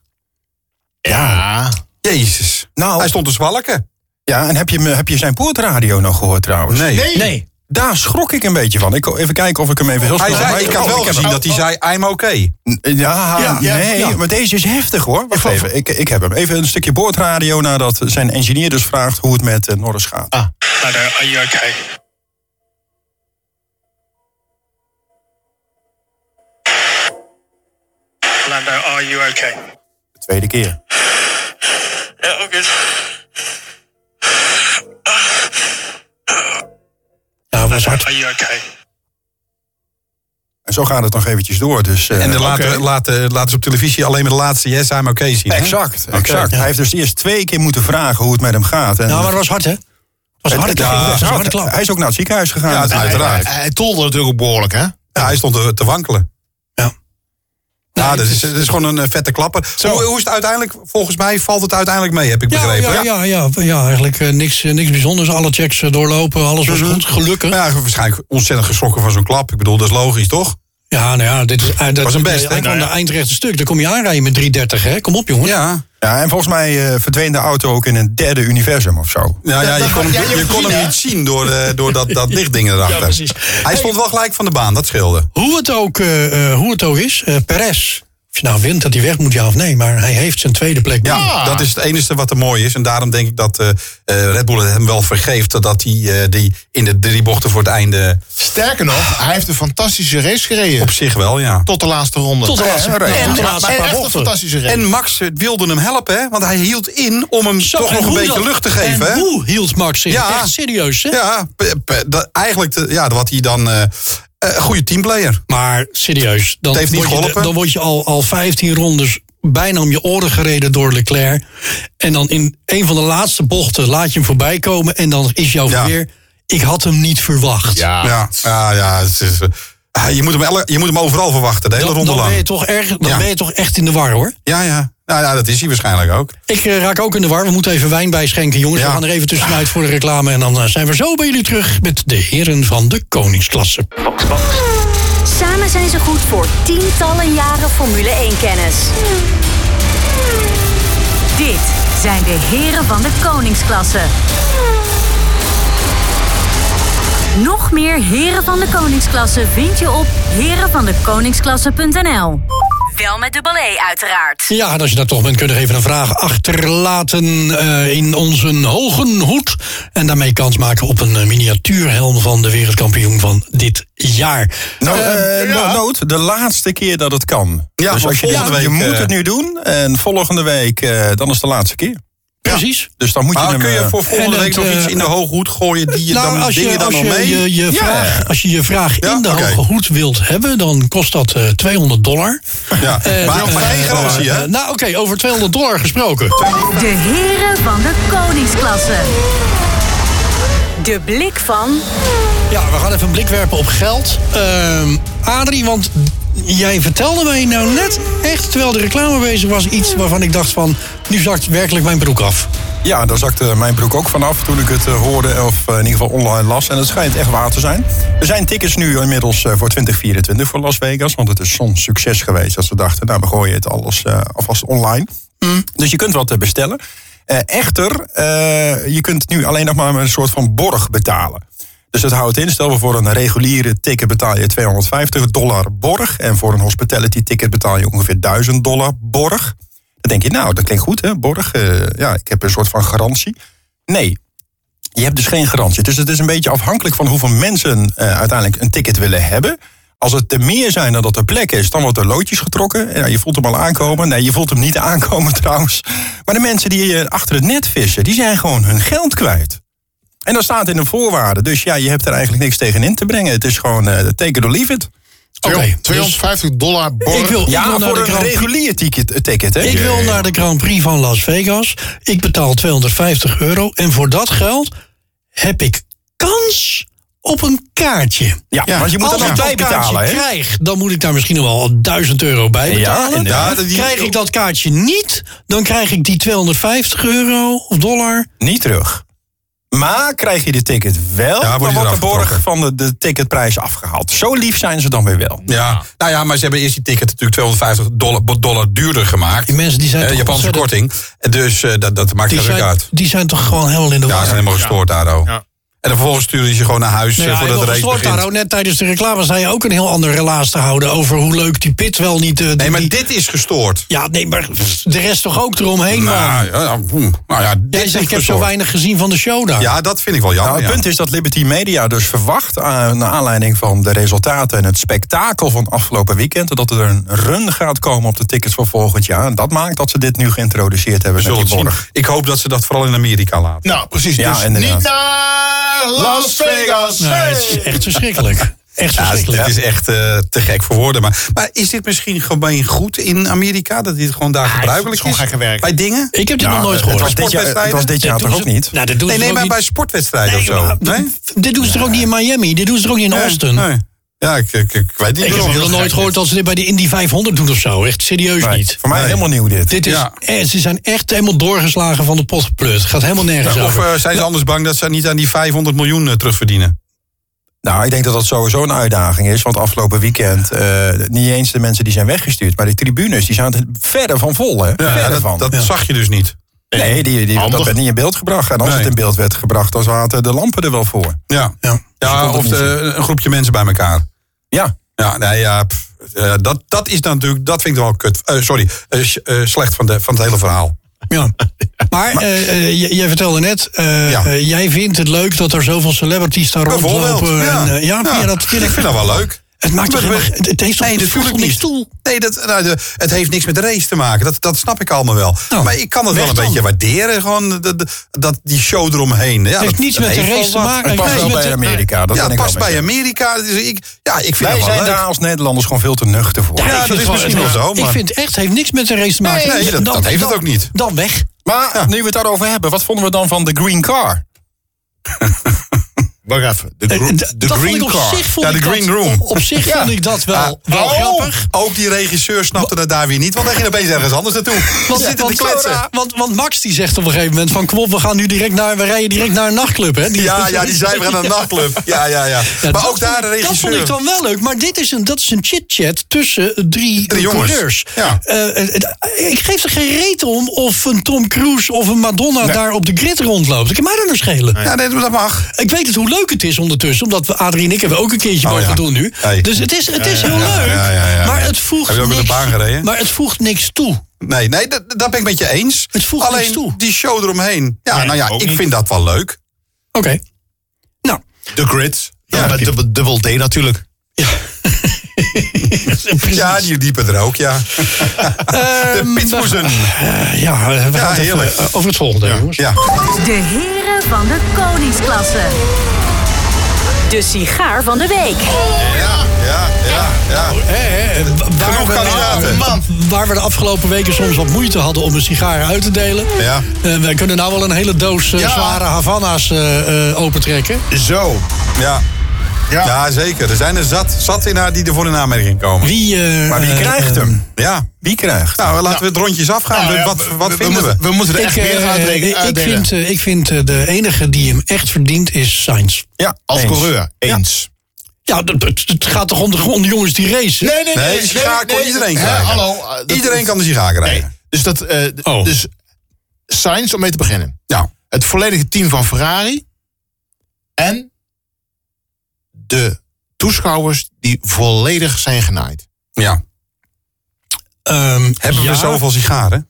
S7: Ja.
S2: Jezus.
S6: Nou.
S2: Hij stond te zwalken.
S6: Ja, en heb je, me- heb je zijn poortradio nog gehoord trouwens?
S7: Nee.
S1: Nee,
S6: Daar schrok ik een beetje van. Ik, even kijken of ik hem even heel
S2: Hij
S6: snel... Oh,
S2: zei,
S6: Maar
S2: ik had wel gezien dat hij zei, I'm okay.
S6: Ja,
S7: ja,
S6: nee,
S7: ja.
S6: maar deze is heftig hoor. Wacht even, ik, ik heb hem. Even een stukje boordradio nadat zijn engineer dus vraagt hoe het met eh, Norris gaat.
S2: Ah.
S9: Lando, are you okay? Lando, are you okay?
S6: De tweede keer.
S9: Yeah, all good.
S1: nou, was hard.
S9: Are you okay?
S6: En zo gaat het nog eventjes door. Dus, eh,
S2: En de
S6: oké.
S2: laten, laten, laten ze op televisie alleen maar de laatste yes, I'm okay zien. hè?
S6: Exact, exact.
S2: Oké.
S6: Hij heeft dus eerst twee keer moeten vragen hoe het met hem gaat. En
S1: Nou, maar het was hard, hè? Het was een harde klap.
S6: Ja,
S1: Het was een harde klap.
S6: Hij is ook naar het ziekenhuis gegaan.
S2: Ja,
S6: natuurlijk.
S2: uiteraard.
S7: Hij, hij tolde natuurlijk ook behoorlijk, hè?
S2: Ja, hij stond te, te wankelen.
S1: Ja.
S2: Ja, dat is, dat is gewoon een eh, vette klapper. Hoe, hoe is het uiteindelijk? Volgens mij valt het uiteindelijk mee, heb ik
S1: Ja,
S2: begrepen.
S1: ja, ja, ja, ja, eigenlijk eh, niks, eh, niks bijzonders. Alle checks eh, doorlopen, alles was goed, gelukkig.
S2: Maar Mhm. ja, waarschijnlijk ontzettend geschrokken van zo'n klap. Ik bedoel, dat is logisch, toch?
S1: Ja, nou ja, dit is, eh, dat
S2: Was een best, hè? Nou
S1: Hij kwam de eindrechte stuk, daar kom je aanrijden met 330, hè? Kom op, jongen.
S2: Ja.
S6: Ja, en volgens mij eh, verdween de auto ook in een derde universum of zo.
S2: Ja, ja, je kon
S7: ja, je
S2: hem, je
S7: hebt
S2: kon
S7: gezien,
S2: hem
S7: hè?
S2: niet zien door, eh, door dat, dat dichtding erachter.
S1: Ja, precies.
S2: Hij stond wel gelijk van de baan, dat scheelde.
S1: Hoe, het ook, eh, eh, hoe het ook is, eh Perez, of je nou wint dat hij weg moet, ja of nee, maar hij heeft zijn tweede plek.
S2: Ja,
S1: binnen.
S2: dat is het enige wat er mooi is. En daarom denk ik dat eh, eh, Red Bull het hem wel vergeeft... dat hij eh, die in de drie bochten voor het einde
S7: Sterker nog, hij heeft een fantastische race gereden.
S2: op zich wel, ja.
S7: Tot de laatste ronde.
S1: Tot de laatste,
S7: Ja,
S1: nou,
S7: en-
S1: tot de
S7: maar-
S1: laatste
S7: maar
S1: paar
S7: echt een
S1: bochten.
S7: fantastische race.
S2: En Max eh, wilde hem helpen, hè? want hij hield in om hem
S1: Zo,
S2: toch
S1: en
S2: nog een
S1: hoe
S2: beetje
S1: dat-
S2: lucht te geven. hè?
S1: En hoe hield Max zich?
S2: Ja.
S1: Echt serieus, hè?
S2: Ja, p- p- dat- eigenlijk de, ja, wat hij dan... eh, eh, een goede teamplayer.
S1: Maar serieus, dan,
S2: Het heeft niet
S1: word, je,
S2: geholpen.
S1: dan word je al, al 15 rondes bijna om je oren gereden door Leclerc. En dan in een van de laatste bochten laat je hem voorbij komen. En dan is jouw
S2: Ja.
S1: weer. Ik had hem niet verwacht.
S7: Ja.
S2: Ja, ja, ja het is, eh, ah, je, moet hem elle- je moet hem overal verwachten, de hele
S1: Dan,
S2: ronde
S1: dan ben je
S2: lang.
S1: toch erg, dan
S2: Ja.
S1: ben je toch echt in de war hoor.
S2: Ja, ja. Nou ja, dat is hij waarschijnlijk ook.
S1: Ik eh, raak ook in de war. We moeten even wijn bijschenken, jongens.
S2: Ja.
S1: We gaan er even tussenuit voor de reclame. En dan eh, zijn we zo bij jullie terug met de heren van de koningsklasse.
S9: Box, box.
S3: Samen zijn ze goed voor tientallen jaren Formule 1-kennis. Dit zijn de heren van de koningsklasse. Nog meer heren van de koningsklasse vind je op herenvandekoningsklasse.nl. Wel met dubbel E uiteraard.
S1: Ja, en als je daar toch bent, kun je nog even een vraag achterlaten eh, in onze hoge hoed. En daarmee kans maken op een eh, miniatuurhelm van de wereldkampioen van dit jaar.
S6: Nou, eh,
S7: ja.
S6: no- nood, de laatste keer dat het kan.
S2: Ja,
S6: dus
S2: want
S6: als je,
S2: volgende
S6: denkt, je
S2: week,
S6: moet
S2: eh,
S6: het nu doen. En volgende week, eh, dan is het de laatste keer.
S1: Precies.
S6: Dus dan moet je
S2: Maar
S6: hem...
S2: kun je
S6: eh,
S2: voor volgende
S1: en
S2: week
S1: het,
S2: nog iets
S1: eh,
S2: in de hooghoed gooien... die je
S1: nou,
S2: dan,
S1: als je,
S2: dingen dan
S1: als
S2: nog
S1: je,
S2: mee?
S1: je, je
S2: Ja.
S1: vraag, als je je vraag
S2: Ja,
S1: in de
S2: oké.
S1: hoge hoed wilt hebben, dan kost dat eh, 200 dollar.
S2: Ja,
S1: Eh,
S2: maar
S1: eh,
S2: maar geen garantie,
S1: eh,
S2: hè?
S1: nou, oké, over 200 dollar gesproken.
S3: De heren van de koningsklasse. De blik van
S1: Ja, we gaan even een blik werpen op geld. Ehm Adrie, want jij vertelde mij nou net echt, terwijl de reclame bezig was, iets waarvan ik dacht van, nu zakt werkelijk mijn broek af.
S6: Ja, daar zakte mijn broek ook vanaf toen ik het eh, hoorde, of eh, in ieder geval online las. En het schijnt echt waar te zijn. Er zijn tickets nu inmiddels eh, voor 2024 voor Las Vegas. Want het is zo'n succes geweest dat ze dachten, nou, we gooien het alles eh, alvast online. Dus je kunt wat eh, bestellen. Eh, echter, eh, je kunt nu alleen nog maar met een soort van borg betalen. Dus dat houdt in, stel we voor een reguliere ticket betaal je 250 dollar borg. En voor een hospitality ticket betaal je ongeveer 1000 dollar borg. Dan denk je, nou, dat klinkt goed, hè, borg. eh, ja, ik heb een soort van garantie. Nee, je hebt dus geen garantie. Dus het is een beetje afhankelijk van hoeveel mensen eh, uiteindelijk een ticket willen hebben. Als het er meer zijn dan dat er plek is, dan wordt er loodjes getrokken. Ja, je voelt hem al aankomen. Nee, je voelt hem niet aankomen trouwens. Maar de mensen die eh, achter het net vissen, die zijn gewoon hun geld kwijt. En dat staat in de voorwaarden. Dus ja, je hebt er eigenlijk niks tegen in te brengen. Het is gewoon eh take it or leave it.
S1: Oké,
S7: Twee-
S1: dus
S7: 250 dollar borg.
S1: ik wil, ik wil
S6: Ja,
S1: naar
S6: voor
S1: de
S6: een
S1: Grand Prix.
S6: regulier ticket. eh, ticket hè?
S1: Ik wil naar de Grand Prix van Las Vegas. Ik betaal 250 euro. En voor dat geld heb ik kans op een kaartje.
S6: Ja, want je moet er
S1: Als
S6: nog
S1: ik
S6: bij
S1: dat
S6: betalen,
S1: kaartje
S6: hè?
S1: krijg, dan moet ik daar misschien nog wel 1000 euro bij betalen.
S6: inderdaad.
S1: krijg ik dat kaartje niet, dan krijg ik die 250 euro of dollar.
S6: Niet terug. Maar krijg je de ticket wel,
S2: Ja, wordt
S6: dan
S2: die
S6: wordt de
S2: eraf
S6: borg
S2: getrokken.
S6: van de, de ticketprijs afgehaald. Zo lief zijn ze dan weer wel.
S2: Ja, nou ja, maar ze hebben eerst die ticket natuurlijk 250 dollar, dollar duurder gemaakt.
S1: Die mensen die zijn
S2: Eh,
S1: toch
S2: Japanse
S1: ontzettend-
S2: korting. Dus eh, dat, dat maakt
S1: Die
S2: natuurlijk
S1: zijn,
S2: uit.
S1: die zijn toch gewoon helemaal in de
S2: Ja, ze
S1: war.
S2: zijn helemaal gestoord daar ook.
S7: Ja.
S2: En dan vervolgens sturen ze je gewoon naar huis eh,
S1: Nou ja,
S2: voordat de
S1: en nog
S2: race
S1: een slot
S2: begint.
S1: daar ook. Net tijdens de reclame zei je ook een heel ander relaas te houden... over hoe leuk die pit wel niet... eh, die-
S2: Nee, maar
S1: die-
S2: dit is gestoord.
S1: Ja, nee, maar pff, de rest toch ook eromheen, man.
S2: Nou ja, ja, hm, nou ja, dit
S1: Jij
S2: is
S1: zegt, ik heb zo
S2: gestoord.
S1: weinig gezien van de show daar.
S2: Ja, dat vind ik wel jammer.
S6: Nou, het
S2: ja.
S6: punt is dat Liberty Media dus verwacht, eh, naar aanleiding van de resultaten en het spektakel van afgelopen weekend, dat er een run gaat komen op de tickets voor volgend jaar. En dat maakt dat ze dit nu geïntroduceerd hebben
S2: We
S6: met
S2: zullen
S6: die
S2: het zien.
S6: borg.
S2: Ik hoop dat ze dat vooral in Amerika laten.
S7: Nou, precies.
S6: Ja,
S7: dus
S6: inderdaad.
S7: niet naar Las Vegas.
S1: Nou, het is echt verschrikkelijk. Echt
S2: Ja, dit
S1: verschrikkelijk.
S2: is echt eh, te gek voor woorden. Maar, maar is dit misschien gemeen goed in Amerika? Dat dit gewoon daar
S7: het is
S2: gebruikelijk
S7: gewoon
S2: is?
S7: gekke werk.
S2: Bij dingen?
S1: Ik heb dit nog nooit
S6: Het
S1: gehoord.
S6: was dit jaar, het was dit jaar
S1: Dat
S6: toch ook
S1: doen ze-
S6: niet?
S1: Nou, dat doen
S2: Nee,
S1: ze
S2: nee
S1: ook
S2: maar
S1: niet.
S2: bij sportwedstrijden
S1: Nee,
S2: of zo.
S1: maar d- Dit doen ze toch ook niet in Miami? Dit doen ze toch ook niet in Austin?
S2: Nee. Ja, ik, ik, ik weet niet.
S1: Ik heb
S2: waarom.
S1: nog nooit gehoord dat ze dit bij de Indy 500 doen of zo. Echt serieus
S6: Nee,
S1: niet.
S6: Voor mij helemaal nieuw dit.
S1: Dit is,
S2: Ja.
S1: eh, ze zijn echt helemaal doorgeslagen van de pot geplut. Gaat helemaal nergens
S2: Of
S1: over.
S2: eh, zijn ze anders bang dat ze niet aan die 500 miljoen eh, terugverdienen?
S6: Nou, ik denk dat dat sowieso een uitdaging is. Want afgelopen weekend, eh, niet eens de mensen die zijn weggestuurd, maar de tribunes, die zijn er verre van vol. Hè? verre
S2: dat
S6: van.
S2: dat zag je dus niet.
S6: nee, die, die, dat
S7: Handig.
S6: werd niet in beeld gebracht. En als
S2: Nee.
S6: het in beeld werd gebracht, dan zaten de lampen er wel voor. Dus
S2: Ja, ja.
S6: kon het
S2: of
S6: niet
S2: eh, een groepje mensen bij elkaar.
S6: Ja,
S2: Ja, nee, ja pff, eh, dat, dat is dan natuurlijk, dat vind ik wel kut. Eh, sorry, eh, s- eh, slecht van, de, van het hele verhaal.
S1: Ja. Maar eh, eh, j- jij vertelde net, eh,
S2: Ja.
S1: eh, jij vindt het leuk dat er zoveel celebrities daar
S2: Bijvoorbeeld.
S1: rondlopen.
S2: ja.
S1: En, eh, ja, ja, dat vind ik.
S2: vind dat wel leuk.
S1: Het maakt toch
S2: Maar-
S1: helemaal, het het heeft toch
S2: Nee,
S1: het voegt
S2: natuurlijk
S1: toch niks
S2: niet.
S1: toe.
S2: Nee, dat, nou, de- het heeft niks met de race te maken. Dat, dat snap ik allemaal wel.
S1: Nou,
S2: maar ik kan het wel
S1: weg
S2: een
S1: dan.
S2: beetje waarderen. Gewoon de- de- dat, die show eromheen. Ja,
S1: Het heeft
S2: dat-
S1: niets
S2: dat
S1: met de
S2: heeft
S1: race te
S2: wel wat.
S6: het
S1: maken. Het
S6: past
S1: heeft
S6: wel
S1: met
S6: bij
S1: de-
S6: Amerika. Dat ben
S2: ja, het
S6: ik wel
S2: past
S6: met je.
S2: bij Amerika. Dus ik, ja, ik vind
S6: Wij
S2: dat wel
S6: zijn
S2: leuk.
S6: daar als Nederlanders gewoon veel te nuchter voor.
S2: Ja,
S1: ik
S2: dat
S1: vind
S2: is
S1: wel-
S2: misschien
S1: het-
S2: wel zo,
S1: Ik
S2: maar-
S1: vind het echt, heeft niks met de race te maken.
S2: Nee, nee, dat- dat heeft het ook niet.
S1: Dan weg.
S6: Maar nu we het daarover hebben, wat vonden we dan van de green car?
S7: Wacht even. De,
S1: Eh,
S7: gro-
S1: d-
S7: de
S1: dat
S7: green
S1: vond ik op
S7: car.
S1: zich vond
S2: Ja, de
S1: ik dat-
S2: green room.
S1: Op, op zich
S2: Ja.
S1: vond ik dat wel, wel
S2: oh,
S1: grappig.
S2: Ook die regisseur snapte dat daar weer niet. Want hij ging opeens ergens anders naartoe. Wat
S1: Want,
S2: zitten te
S1: want,
S2: kletsen?
S1: want, want Max die zegt op een gegeven moment van... kom op, we, gaan nu direct naar, we rijden direct naar een nachtclub. Hè? Die-
S2: Ja, ja, die zijn weer aan de nachtclub. Ja, ja, ja.
S1: Ja,
S2: maar
S1: dat
S2: ook daar de
S1: vond ik- Dat
S2: regisseur.
S1: vond ik dan wel leuk. Maar dit is een, dat is een chit-chat tussen drie,
S2: Drie jongens.
S1: coureurs.
S2: Ja.
S1: Eh, eh, eh, ik geef er geen reet om of een Tom Cruise of een Madonna daar op de grid rondloopt. Ik kan mij daar nou schelen.
S2: Ja, nee, dat mag.
S1: Ik weet het hoe leuk het is ondertussen. Omdat we, Adrie en ik hebben ook een keertje
S2: Oh,
S1: mogen
S2: ja.
S1: doen nu.
S2: Hey.
S1: Dus het is, het is heel
S2: ja,
S1: leuk.
S2: ja, ja, ja.
S1: Maar het voegt
S2: Heb je ook met
S1: niks,
S2: de baan gereden?
S1: Maar het voegt niks toe.
S2: Nee, nee dat, dat ben ik met je eens.
S1: Het voegt
S2: Alleen
S1: niks toe.
S2: die show eromheen. Ja,
S7: Nee,
S2: nou ja,
S7: ook
S2: ik
S7: niet.
S2: vind dat wel leuk.
S1: Oké. Nou,
S7: De grid.
S2: Ja,
S7: Ja, met dubbel, dubbel D natuurlijk.
S2: Ja, die liepen er ook, ja. de Pitmoesen.
S1: eh, Ehm, ja, we gaan het even,
S2: heerlijk.
S1: eh, over het volgende, jongens.
S2: Ja,
S3: De heren van de koningsklasse. De sigaar van de week.
S2: ja, ja, ja. ja.
S1: Eh, eh, wa- waar
S2: Genoeg
S1: we-
S2: kandidaten.
S1: Man, Waar we de afgelopen weken soms wat moeite hadden om een sigaar uit te delen.
S2: Ja.
S1: Eh, wij kunnen nou wel een hele doos eh,
S7: Ja.
S1: zware Havana's eh, eh, opentrekken.
S7: Zo.
S2: Ja.
S7: Ja.
S2: Ja, zeker. Er zijn er zat, zat in haar die ervoor in aanmerking komen.
S1: Wie, eh,
S6: Maar wie
S1: eh,
S6: krijgt hem?
S2: Ja.
S6: Wie krijgt hem?
S2: Nou, laten we het rondjes afgaan.
S7: Nou ja,
S2: wat
S7: we-
S2: wat
S7: we-
S2: vinden we?
S7: moeten- We moeten er echt
S1: Ik,
S7: meer
S1: eh,
S7: gaan
S1: ik-
S7: uitdelen.
S1: ik, vind, eh, ik vind eh, de enige die hem echt verdient is Sainz.
S6: Ja,
S7: Als
S6: eens.
S7: coureur. Eens.
S1: Ja, dat- dat- het gaat toch om de, om de jongens die racen?
S7: nee, dus
S2: Nee, die sigaar kon iedereen krijgen.
S7: hallo. eh, dat-
S2: Iedereen kan de sigaar krijgen.
S7: Nee. Dus dat... eh, d-
S1: Oh.
S7: Dus Sainz, om mee te beginnen.
S2: Ja.
S7: Het volledige team van Ferrari. En de toeschouwers die volledig zijn genaaid.
S2: ja.
S1: Ehm,
S2: Hebben
S1: ja.
S2: we zoveel sigaren?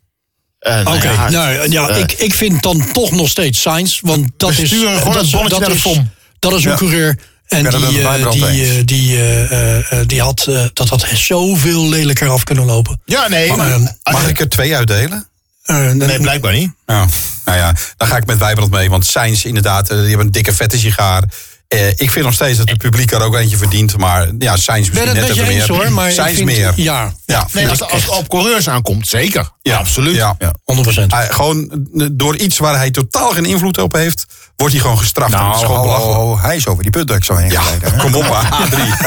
S7: Eh, nou
S1: Oké,
S7: ja,
S1: nou ja,
S7: eh,
S1: ik, ik vind dan toch nog steeds Sainz. Want dat
S7: We
S1: is.
S7: sturen gewoon
S1: dat,
S7: het bonnetje
S1: dat
S7: naar de
S1: is-
S7: FOM.
S1: Dat is een coureur. En
S6: ben het met
S1: die, eh,
S6: Wijbrand
S1: die,
S6: eens.
S1: eh, die, eh, eh, eh, die had, eh, dat had zoveel lelijker af kunnen lopen.
S7: Ja, Ah, nee.
S1: Maar,
S7: maar-
S1: ehm,
S2: Mag ik er twee uitdelen?
S1: Eh,
S7: nee, blijkbaar niet.
S2: Ja, nou ja, daar ga ik met Wijbrand mee. Want Sainz inderdaad, eh, die hebben een dikke vette sigaar. Eh, ik vind nog steeds dat het publiek er ook eentje verdient. Maar ja, Sainz
S1: Ik ben
S2: misschien
S1: het
S2: net
S1: met je
S2: even
S1: eens
S2: meer.
S1: hoor, maar ik
S2: Sainz
S1: vind-
S2: meer.
S1: Ja,
S2: Ja,
S7: Nee,
S2: vind
S7: als,
S2: ik
S7: als het
S2: echt.
S7: op coureurs aankomt, zeker.
S2: Ja,
S7: absoluut.
S2: Ja.
S1: 100%.
S2: Ah, Hij- gewoon eh, door iets waar hij totaal geen invloed op heeft... wordt hij gewoon gestraft.
S6: Nou,
S2: Dat is gewoon
S6: ho, ho,
S2: belachelijk.
S6: ho, hij is over die putdeksel heen
S2: Ja,
S6: gereden. hè?
S2: kom op, maar, A3.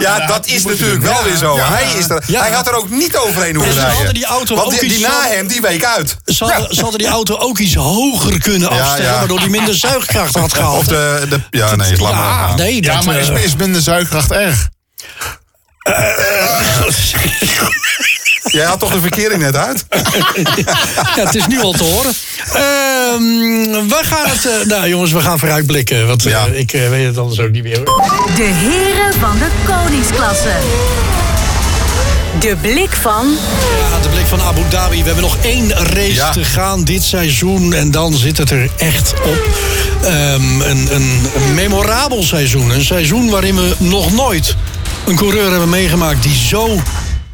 S2: ja, dat is natuurlijk wel weer zo. Hij, is er,
S1: Ja.
S2: hij had er ook niet overheen hoeven
S1: En ze
S2: rijden.
S1: hadden die auto
S2: Want
S1: ook
S2: die, die
S1: iets
S2: na
S1: zo-
S2: hem, die week uit.
S1: Ze hadden, ze hadden die auto ook iets hoger kunnen afstellen,
S2: ja.
S1: waardoor die minder zuigkracht had gehad.
S2: Of de, de, ja, nee, is laat maar
S1: ja,
S2: gaan.
S1: nee, dat,
S7: Ja, maar is,
S1: eh,
S7: is minder zuigkracht erg?
S2: Jij had toch de verkering net uit?
S1: ja, het is nu al te horen. Ehm, we gaan het, eh, nou jongens, we gaan vooruitblikken. Want eh,
S2: Ja.
S1: ik eh, weet het anders ook niet meer. hoor.
S3: De heren van de koningsklasse. De blik van
S1: Ja, de blik van Abu Dhabi. We hebben nog één race
S2: Ja.
S1: te gaan dit seizoen. En dan zit het er echt op. Ehm, een, een memorabel seizoen. Een seizoen waarin we nog nooit een coureur hebben meegemaakt die zo,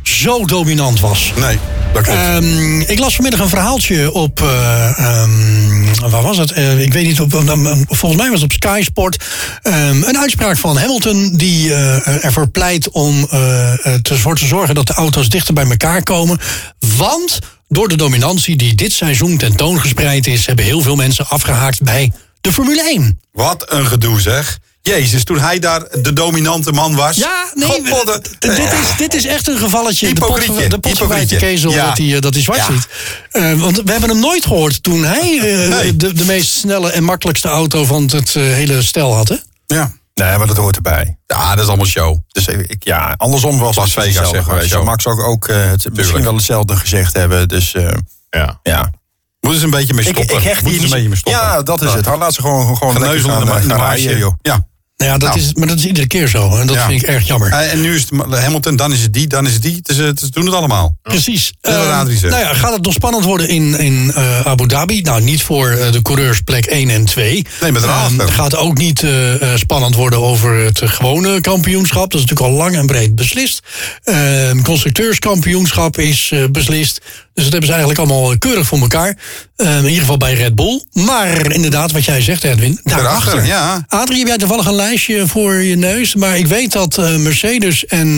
S1: zo dominant was.
S2: Nee, dat klopt.
S1: Ehm, ik las vanmiddag een verhaaltje op. eh, ehm, waar was het? Eh, ik weet niet. Op, ehm, ehm, volgens mij was het op Sky Sport. Ehm, een uitspraak van Hamilton. Die eh, ervoor pleit om eh, eh, te- ervoor te zorgen dat de auto's dichter bij elkaar komen. Want door de dominantie die dit seizoen tentoongespreid is. hebben heel veel mensen afgehaakt bij de Formule 1.
S2: Wat een gedoe zeg. Jezus, toen hij daar de dominante man was.
S1: Ja, nee.
S2: Godverdomme.
S1: d- dit, is, dit is echt een gevalletje. De pot,
S2: Hypocrietje,
S1: de pot verwijt de
S2: eh, hypocrietje.
S1: kezel
S2: Ja.
S1: dat, hij, eh, dat hij zwart
S2: Ja.
S1: ziet. Eh, want we hebben hem nooit gehoord toen hij eh,
S2: Nee.
S1: de, de meest snelle en makkelijkste auto van het eh, hele stel had. Hè?
S2: Ja.
S6: Nee, maar dat hoort erbij.
S2: ja, dat is allemaal show.
S6: Dus ik, ik- ja, andersom was
S2: Las
S6: het
S2: Vegas,
S6: hetzelfde
S2: zeg maar,
S6: geweest.
S2: zo.
S6: Zou Max ook, ook eh, het, misschien wel hetzelfde gezegd hebben. Dus eh,
S2: Ja.
S6: ja.
S2: Moeten ze een beetje mee
S6: Ik,
S2: stoppen.
S6: ik hecht
S2: Moeten
S6: hier
S2: ze een beetje mee
S6: niet...
S2: stoppen.
S6: Ja, dat is het. Laat ze gewoon, gewoon lekker
S2: Geneuzel
S6: gaan,
S2: in de, ma-
S6: eh,
S2: in de
S6: gaan
S2: marge,
S6: rijden.
S2: joh. Ja.
S1: Nou ja, dat
S2: Nou.
S1: Is, maar dat is iedere keer zo. En dat
S2: Ja.
S1: vind ik erg jammer.
S2: Eh, en nu is het Ma- Hamilton, dan is het die, dan is het die. Het is, eh, Ze doen het allemaal.
S1: Precies.
S2: Dat wil
S1: Ehm,
S2: Adrie zeggen.
S1: nou ja, gaat het nog spannend worden in, in eh, Abu Dhabi? Nou, niet voor eh, de coureurs plek 1 en 2.
S2: Nee, maar daarachter.
S1: Ehm, gaat ook niet eh, eh, spannend worden over het eh, gewone kampioenschap. Dat is natuurlijk al lang en breed beslist. Ehm, constructeurskampioenschap is eh, beslist. Dus dat hebben ze eigenlijk allemaal eh, keurig voor elkaar. Ehm, in ieder geval bij Red Bull. Maar inderdaad, wat jij zegt, Edwin, daarachter.
S2: Daarachter, ja.
S1: Nou, Adrie, heb jij toevallig een lijstje voor je neus? Maar ik weet dat eh, Mercedes en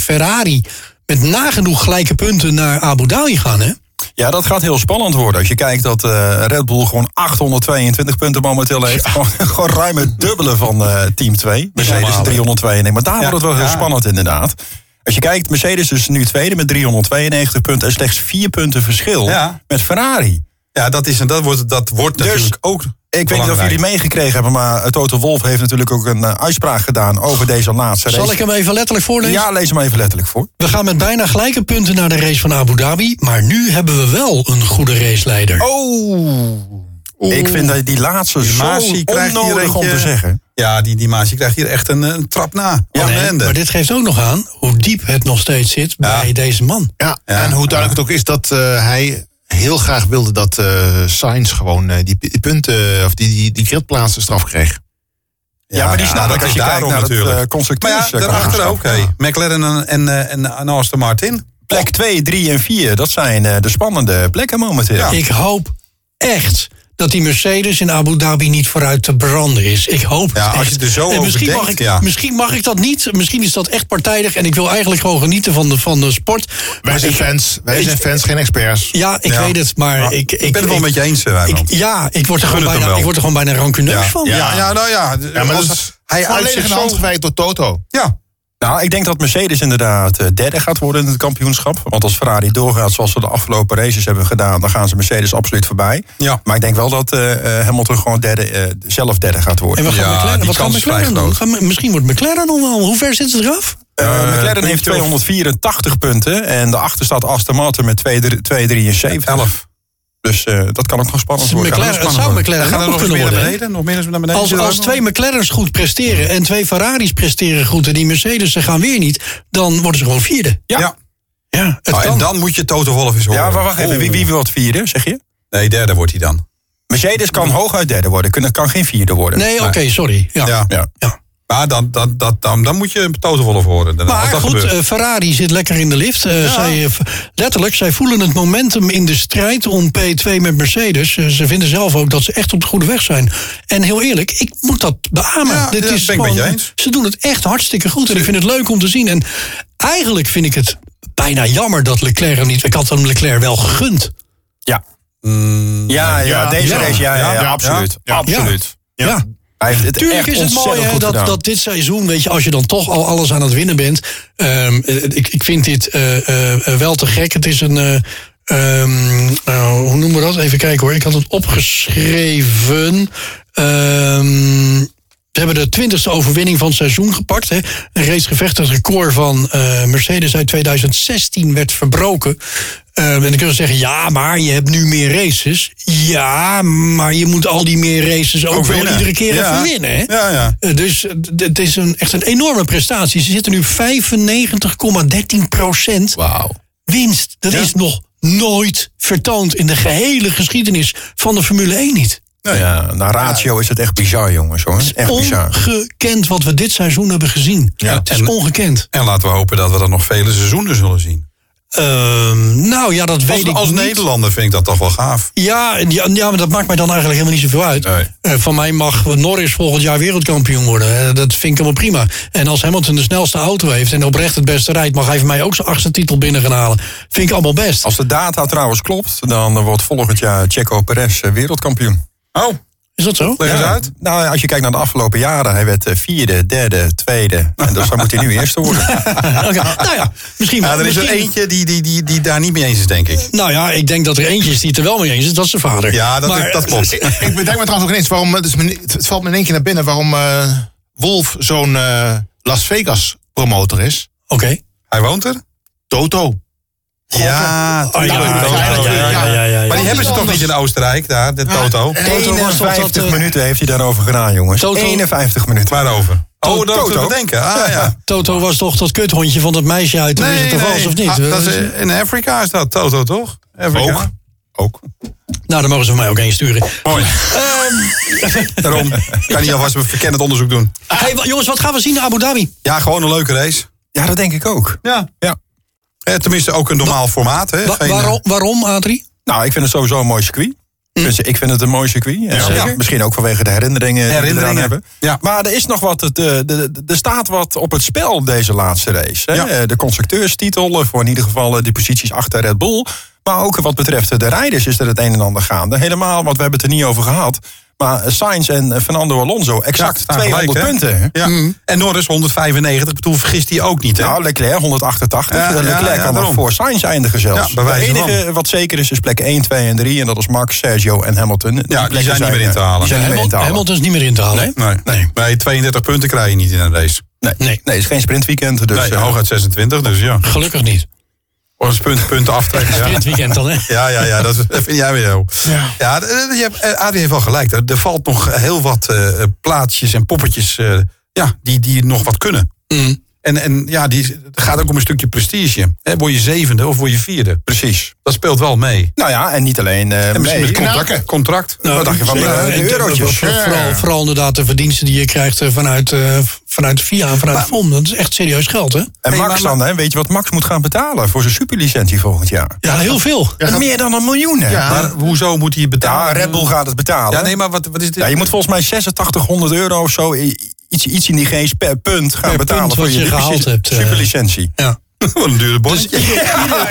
S1: Ferrari met nagenoeg gelijke punten naar Abu Dhabi gaan, hè?
S6: Ja, dat gaat heel spannend worden. Als je kijkt dat eh, Red Bull gewoon 822 punten momenteel heeft. Gewoon, gewoon ruim het dubbele van eh, team 2. Mercedes
S2: Normaal, hè?
S6: 392. Maar daar wordt het wel heel
S2: ja.
S6: spannend inderdaad. Als je kijkt, Mercedes is nu tweede met 392 punten. En slechts 4 punten verschil
S2: Ja.
S6: met Ferrari.
S2: Ja, dat, is, en dat wordt, dat wordt
S6: Dus-
S2: natuurlijk ook
S6: Ik weet niet of
S2: belangrijk.
S6: jullie meegekregen hebben, maar eh, Toto Wolf heeft natuurlijk ook een eh, uitspraak gedaan over deze laatste race.
S1: Zal ik hem even letterlijk voorlezen?
S6: Ja, lees hem even letterlijk voor.
S1: We gaan met bijna gelijke punten naar de race van Abu Dhabi. Maar nu hebben we wel een goede raceleider.
S6: Oh. Ik vind dat die laatste zo
S2: Masi krijgt hier
S6: onnodig om
S2: eentje-
S6: te zeggen.
S2: Ja, die, die Maas, die krijgt hier echt een, eh, een trap na.
S1: Ja,
S2: Van
S1: Oh, nee,
S2: Ende.
S1: maar dit geeft ook nog aan hoe diep het nog steeds zit bij deze man.
S7: Ja, en hoe duidelijk het ook is dat eh, hij heel graag wilde dat eh Sainz gewoon eh, die, die punten, of die, die, die gridplaatsen straf kreeg.
S2: Ja, maar die snap
S6: nou,
S2: ik
S6: als
S2: als
S6: je
S2: je
S6: kijkt
S2: daarom
S6: naar het,
S2: natuurlijk.
S6: eh,
S2: Maar
S6: constructeurs-
S2: ja, daarachter ook. hè. McLaren en, en, eh, en, en Aston Martin.
S6: Plek 2, 3 en 4, dat zijn eh, de spannende plekken momenteel. Ja,
S1: Ik hoop echt dat die Mercedes in Abu Dhabi niet vooruit te branden is. Ik hoop het
S2: Ja,
S1: echt.
S2: als je er zo
S1: en
S2: over
S1: misschien mag
S2: denkt,
S1: ik,
S2: ja.
S1: Misschien mag ik dat niet. Misschien is dat echt partijdig. En ik wil eigenlijk gewoon genieten van de, van de sport.
S7: Wij
S1: Maar
S7: zijn
S1: ik-
S7: fans, wij
S1: ik-
S7: zijn fans, geen experts.
S1: Ja, ik
S2: Ja.
S1: weet het. Maar
S2: Ja,
S1: ik, ik,
S2: ben het wel
S1: ik-
S2: met je eens, eh, Wijnand.
S1: ik- Ja, ik word, er
S2: Gun
S1: gewoon
S2: het hem
S1: bijna,
S2: wel.
S1: ik word er gewoon bijna rancuneus van.
S2: Ja, ja, nou ja.
S7: Ja, maar
S2: als-
S7: dat is
S2: hij uit
S7: volledig
S2: zich
S7: een
S2: zo...
S7: hand gewijd door Toto.
S2: Ja,
S6: Nou, ik denk dat Mercedes inderdaad eh, derde gaat worden in het kampioenschap. Want als Ferrari doorgaat zoals ze de afgelopen races hebben gedaan... dan gaan ze Mercedes absoluut voorbij.
S2: Ja.
S6: Maar ik denk wel dat eh, eh, Hamilton gewoon derde, eh, zelf derde gaat worden.
S1: En we gaan
S2: Ja,
S1: McLaren,
S2: die
S1: wat gaan
S2: kans is vrij
S1: McLaren doen?
S2: groot.
S1: Gaan we- misschien wordt McLaren nog wel. Hoe ver zitten ze eraf?
S6: Eh, McLaren
S2: puntje
S6: heeft
S2: of-
S6: 284 punten. En daarachter staat Aston Martin met 273.
S2: 11.
S6: Dus eh, dat kan ook nog spannend
S1: Het is
S6: worden.
S1: McLaren, het zou McLaren
S2: Gaan
S1: nog
S2: er nog eens
S1: kunnen
S2: meer naar
S1: worden, hè?
S2: beneden? Nog meer naar beneden?
S1: Als, als twee McLaren's goed presteren en twee Ferrari's presteren goed... en die Mercedes'en gaan weer niet, dan worden ze gewoon vierde.
S2: Ja.
S1: Ja, het
S2: Ah, en
S1: kan.
S2: dan moet je Toto Wolff eens horen.
S6: Ja, maar wacht even.
S2: Oh.
S6: Wie, wie wil het vierde, zeg je?
S2: Nee, derde wordt hij dan.
S6: Mercedes kan hooguit derde worden. Kunnen- kan geen vierde worden.
S1: Nee, oké, sorry. Ja.
S2: Ja.
S6: Ja.
S1: Ja.
S2: Maar dan, dan, dat, dan, dan moet je Toto Wolff horen. Dan, als
S1: Maar
S2: dat
S1: goed,
S2: gebeurt.
S1: eh, Ferrari zit lekker in de lift. Eh, zij, eh, v- letterlijk, zij voelen het momentum in de strijd om P2 met Mercedes. Eh, ze vinden zelf ook dat ze echt op de goede weg zijn. En heel eerlijk, ik moet dat beamen.
S2: Ja, dat ben ik met je eens.
S1: Ze doen het echt hartstikke goed en ik vind het leuk om te zien. En eigenlijk vind ik het bijna jammer dat Leclerc hem niet... Ik had hem Leclerc wel gegund.
S6: Ja. Ja, ja, deze
S7: ja.
S6: race, ja, ja, ja,
S7: Ja,
S6: absoluut.
S7: ja.
S6: Absoluut.
S1: Ja.
S6: Hij heeft het
S1: Tuurlijk
S6: echt
S1: is het mooi
S6: ontzettend
S1: hè,
S6: goed
S1: dat,
S6: gedaan.
S1: dat dit seizoen, weet je, als je dan toch al alles aan het winnen bent. ehm, eh, ik, ik vind dit eh, eh, eh, wel te gek. Het is een. eh, ehm, nou, hoe noemen we dat? Even kijken hoor. Ik had het opgeschreven. Ehm ze hebben de twintigste overwinning van het seizoen gepakt. Hè. Een reeds gevechtigd record van eh, Mercedes uit 2016 werd verbroken. Ehm, en dan kunnen ze zeggen, ja, maar je hebt nu meer races. Ja, maar je moet al die meer races ook, wel
S6: winnen.
S1: iedere keer
S6: Ja.
S1: even winnen. Hè?
S6: Ja, ja.
S1: Eh, Dus eh, d- het is een, echt een enorme prestatie. Ze zitten nu 95,13 procent
S6: Wauw.
S1: winst. Dat is nog nooit vertoond in de gehele geschiedenis van de Formule 1 niet.
S6: ja, naar ratio is het echt bizar, jongens. Hoor. Echt bizar.
S1: Ongekend wat we dit seizoen hebben gezien.
S2: Ja,
S1: het is
S2: en-
S1: ongekend.
S2: En laten we hopen dat we dat nog vele seizoenen zullen zien.
S1: Ehm, nou ja, dat weet
S2: Als,
S1: ik
S2: als
S1: niet.
S2: Nederlander vind ik dat toch wel gaaf.
S1: Ja, en ja, ja, maar dat maakt mij dan eigenlijk helemaal niet zoveel uit.
S2: Nee.
S1: Eh, van mij mag Norris volgend jaar wereldkampioen worden. Eh, dat vind ik helemaal prima. En als Hamilton de snelste auto heeft en oprecht het beste rijdt... mag hij van mij ook zijn achtste titel binnen gaan halen. Vind ik allemaal best.
S6: Als de data trouwens klopt, dan eh, wordt volgend jaar Checo Perez eh, wereldkampioen.
S2: Oh,
S1: Is dat zo?
S2: leg eens uit.
S6: Nou, als je kijkt naar de afgelopen jaren, hij werd eh, vierde, derde, tweede. En dus dan moet hij nu eerste worden.
S1: Oké, Nou ja, misschien wel.
S2: Ja, er is er
S1: misschien-
S2: eentje die, die, die, die daar niet mee eens is, denk ik.
S1: Nou ja, ik denk dat er eentje is die het er wel mee eens is. Dat is zijn vader.
S2: Ja, dat,
S1: Maar-
S2: dat klopt.
S7: Ik ik bedenk me trouwens ook ineens waarom. eh, Dus men- het het valt me in één keer naar binnen waarom eh, Wolf zo'n eh, Las Vegas promotor is.
S1: Oké.
S2: Hij woont er?
S7: Toto.
S2: Ja,
S1: Ah, ja,
S2: Toto.
S1: ja, ja, ja, ja, ja, ja.
S2: Maar die hebben ze toch niet in Oostenrijk, daar, de Toto?
S1: Toto was toch dat,
S6: 51
S1: eh,
S6: minuten heeft hij daarover gedaan, jongens.
S1: Toto-
S6: 51 minuten.
S2: Waarover? Oh, dat
S6: Toto.
S2: te bedenken. Ah ja.
S1: Toto was toch dat kuthondje van dat meisje uit Hoe Is het er Vals of niet?
S2: Ah,
S1: We-
S2: dat is,
S1: we-
S2: eh, in Afrika is dat Toto, toch?
S6: Ook.
S2: Afrika.
S6: Ook.
S1: Nou, dan mogen ze van mij ook één sturen.
S2: Mooi.
S6: Ehm.
S2: Daarom kan hij alvast een verkennend onderzoek doen.
S1: Hey, wa- jongens, wat gaan we zien in Abu Dhabi?
S2: Ja, gewoon een leuke race.
S6: Ja, dat denk ik ook.
S2: Ja.
S6: Ja.
S2: Eh, tenminste, ook een normaal formaat. Hè?
S1: Wa-
S2: Geen, eh,
S1: waarom, waarom, Adrie?
S6: Nou, ik vind het sowieso een mooi circuit. Dus ik vind het een mooi circuit. En
S2: Mm. zeker.
S6: ja, misschien ook vanwege de herinneringen, die we eraan
S2: Herinneringen.
S6: hebben.
S2: Ja.
S6: Maar er is nog wat. het, eh, de- de- de- Er staat wat op het spel op deze laatste race. Hè?
S2: Ja.
S6: Eh, De constructeurstitel, eh, voor in ieder geval eh, die posities achter Red Bull. Maar ook eh, wat betreft eh, de rijders is er het een en ander gaande. Helemaal, want we hebben het er niet over gehad. Maar eh, Sainz en eh, Fernando Alonso, exact
S2: staan nou, gelijk,
S6: 200
S2: hè?
S6: punten. hè? Mm.
S2: Ja. En Norris 195, ik bedoel, vergist hij ook niet. Hè?
S6: Nou, Leclerc 188.
S2: Ja,
S6: Eh,
S2: ja,
S6: Leclerc
S2: ja,
S6: kan nog
S2: daarom.
S6: voor Sainz eindigen zelfs.
S2: Ja, bij wijze
S6: het
S2: van.
S6: enige wat zeker is, is plek 1, 2 en 3. En dat is Max, Sergio en Hamilton.
S2: die
S6: plekken
S2: zijn niet meer in te
S6: eh,
S2: halen.
S6: Die zijn niet meer in te
S1: Hamilton,
S6: halen.
S1: Hamilton is niet meer in te halen. hè?
S2: nee. Nee. nee, 32 punten krijg je niet in een race.
S1: Nee,
S6: Nee, het is geen sprintweekend. Dus,
S2: Nee,
S6: eh,
S2: hooguit 26, dus ja.
S1: gelukkig niet.
S2: Of een punt, punten aftrekken. ja.
S1: Dit weekend dan, hè?
S2: Ja, ja, ja, dat dat vind jij weer heel. Ja, d- d- je hebt, eh, Adrie heeft wel gelijk. Er, er valt nog heel wat eh, plaatsjes en poppetjes eh, ja, die, die nog wat kunnen.
S6: Mm.
S2: En, en ja, die, het gaat ook om een stukje prestige. Hè, word je zevende of word je vierde? Precies. Dat speelt wel mee.
S6: Nou ja, en niet alleen. eh
S2: En misschien
S6: mee. nou,
S2: met contract. contract. Wat dacht je van eh,
S6: zeker.
S2: de-
S6: de eurotjes.
S1: Voor- Vooral, vooral inderdaad de verdiensten die je krijgt eh, vanuit, eh, vanuit VIA en vanuit FOM. Dat is echt serieus geld, hè?
S6: En
S2: Hey,
S6: Max
S2: maar-
S6: dan, hè, weet je wat Max moet gaan betalen voor zijn superlicentie volgend jaar?
S1: Ja, heel veel.
S6: En Meer dan een miljoen, hè?
S7: Ja.
S2: Maar hoezo moet hij het
S6: Ja,
S2: betalen?
S6: Red Bull gaat het betalen.
S2: Ja, nee, maar wat, wat is dit?
S6: Ja, je moet volgens mij 8600 euro of zo, i- iets, iets in die geest per punt gaan
S1: Per
S6: betalen
S1: punt
S6: voor
S1: wat
S6: je,
S1: je
S6: superlic-
S1: gehaald hebt, eh.
S6: superlicentie.
S1: Ja.
S2: Wat een
S1: Dus,
S2: dure bonnetje.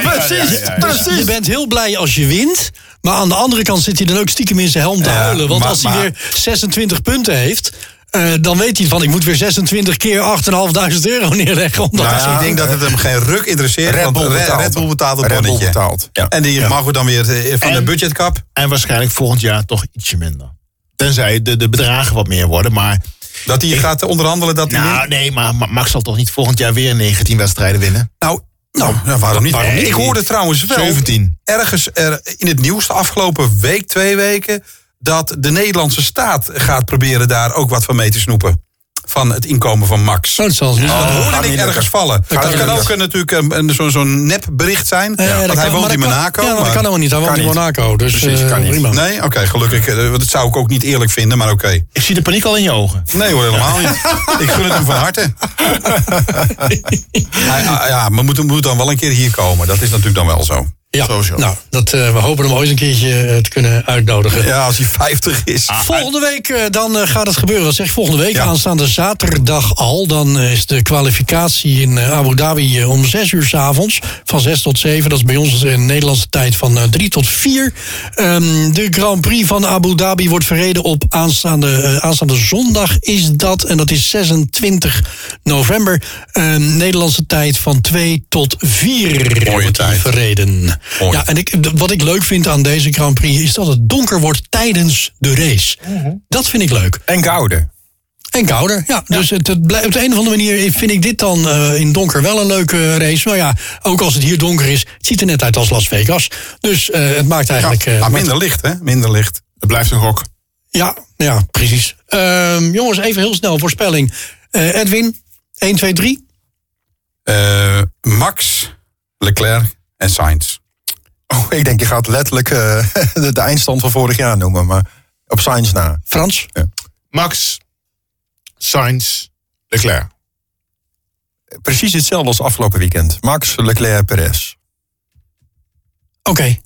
S6: precies,
S1: Dus je bent heel blij als je wint. Maar aan de andere kant zit hij dan ook stiekem in zijn helm te huilen. Want
S2: maar-
S1: als hij
S2: maar-
S1: weer 26 punten heeft... eh, dan weet hij van, ik moet weer 26 keer 8.500 euro neerleggen. Omdat
S2: Nou,
S1: ik-
S2: ik denk dat het hem geen ruk interesseert.
S6: Red
S2: want
S6: Bull
S2: Re-
S6: betaalt.
S2: Red Bull betaalt het
S6: Red Bull
S2: bonnetje.
S6: betaalt, ja.
S2: En die mag dan weer eh, van de
S7: En-
S2: budgetkap.
S7: En waarschijnlijk volgend jaar toch ietsje minder. Tenzij de, de bedragen wat meer worden. Maar
S2: Dat hij gaat onderhandelen dat hij
S7: nou,
S2: wint?
S7: nee, maar Ma- Max zal toch niet volgend jaar weer 19 wedstrijden winnen?
S2: Nou, nou, nou, waarom niet?
S7: Waarom niet?
S2: Ik hoorde trouwens wel
S7: 17.
S2: ergens er, in het nieuws de afgelopen week, twee weken... dat de Nederlandse staat gaat proberen daar ook wat van mee te snoepen. Van het inkomen van Max.
S1: Zo, het zal niet.
S2: dat
S6: gaat
S2: hoorde
S6: niet
S2: ik ergens
S6: lukken.
S2: vallen. Dat,
S6: gaat niet
S2: kan ook
S6: lukken.
S2: een- natuurlijk een- een- zo'n zo'n nep bericht zijn.
S1: Ja, Eh, dat
S2: want hij
S1: kan,
S2: woont
S1: maar
S2: in
S1: dat kan-
S2: Monaco.
S1: Ja, maar dat
S2: maar-
S1: kan helemaal niet. Hij woont in
S6: niet.
S1: Monaco. Dus
S6: Precies,
S1: eh,
S6: kan niet.
S1: prima.
S2: Nee? Oké, gelukkig. eh, want Dat zou ik ook niet eerlijk vinden, maar oké.
S7: Ik zie de paniek al in je ogen.
S2: Nee hoor, helemaal niet. Ik gun het hem van harte. Ah, ja, ja, maar moet, moet dan wel een keer hier komen. Dat is natuurlijk dan wel zo.
S1: Ja,
S7: Sowieso.
S1: nou, dat, eh, we hopen hem ooit een keertje eh, te kunnen uitnodigen.
S2: Ja, als hij 50 is.
S6: Ah.
S1: Volgende week eh, dan eh, gaat het gebeuren. Dat zeg ik volgende week
S2: Ah, Ja.
S1: aanstaande zaterdag al. Dan eh, is de kwalificatie in eh, Abu Dhabi eh, om 6 uur 's avonds. Van 6 tot 7. Dat is bij ons in Nederlandse tijd van eh, 3 tot 4. Ehm, de Grand Prix van Abu Dhabi wordt verreden op aanstaande, eh, aanstaande zondag is dat. En dat is 26 november. Ehm, Nederlandse tijd van 2 tot 4
S2: Mooie
S1: wordt die
S2: tijd.
S1: verreden.
S2: Mooi.
S1: Ja, en ik, d- wat ik leuk vind aan deze Grand Prix is dat het donker wordt tijdens de race. Dat vind ik leuk.
S6: En gouden.
S1: En kouder, ja. Dus het, het blij- op de een of andere manier vind ik dit dan eh, in donker wel een leuke race. Nou ja, ook als het hier donker is, het ziet er net uit als Las Vegas. Dus eh, het maakt eigenlijk... eh,
S2: Ah, minder licht, hè? Minder licht.
S7: Het blijft een gok.
S1: ja, ja, precies. Ehm, jongens, even heel snel voorspelling. Eh, Edwin, 1, 2, 3.
S2: Eh, Max, Leclerc en Sainz.
S6: Oh, ik denk, je gaat letterlijk eh, de, de eindstand van vorig jaar noemen, maar op Sainz na.
S1: Frans,
S7: Max, Sainz, Leclerc.
S6: Precies hetzelfde als afgelopen weekend. Max, Leclerc, Perez.
S1: oké.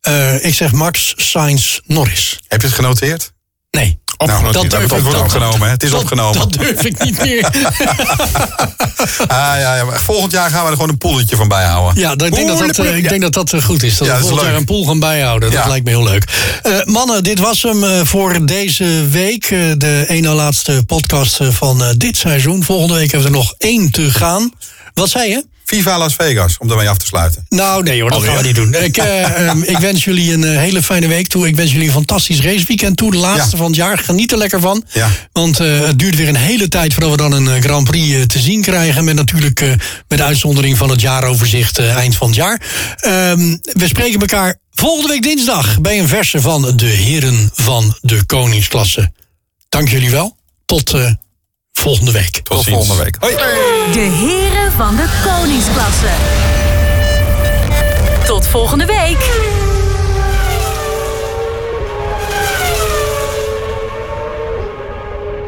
S1: Eh, ik zeg Max, Sainz, Norris.
S2: Heb je het genoteerd?
S1: Nee.
S7: Opgenoteerd.
S1: dat
S2: het
S1: durf
S2: wordt
S1: ik
S2: opgenomen.
S1: niet.
S2: hè? Het is
S1: Dat-
S2: opgenomen.
S1: Dat durf ik niet meer.
S2: Ah, ja, ja, maar volgend jaar gaan we er gewoon een polletje van bijhouden.
S1: Ja, dan- ik denk, dat dat, eh, ik denk dat dat eh, goed is. Dat
S2: Ja,
S1: we
S2: dat is
S1: volgend jaar
S2: leuk.
S1: een pool gaan bijhouden. Dat
S2: Ja.
S1: lijkt me heel leuk. Eh, mannen, dit was hem eh, voor deze week. Eh, de één na laatste podcast eh, van eh, dit seizoen. Volgende week hebben we er nog één te gaan. Wat zei je?
S2: Viva Las Vegas, om daarmee af te sluiten.
S1: Nou, nee
S2: Oh,
S1: hoor, dat gaan we niet doen. Ik, eh, ehm, ik wens jullie een eh, hele fijne week toe. Ik wens jullie een fantastisch raceweekend toe. De laatste
S2: Ja.
S1: van het jaar. Geniet er lekker van.
S2: Ja.
S1: Want eh, het duurt weer een hele tijd voordat we dan een eh, Grand Prix eh, te zien krijgen. Met natuurlijk eh, met uitzondering van het jaaroverzicht eh, eind van het jaar. Ehm, we spreken elkaar volgende week dinsdag bij een verse van de heren van de koningsklasse. Dank jullie wel. Tot eh, volgende week.
S2: Tot, volgende week. Hoi.
S3: De heren van de koningsklasse. Tot volgende week.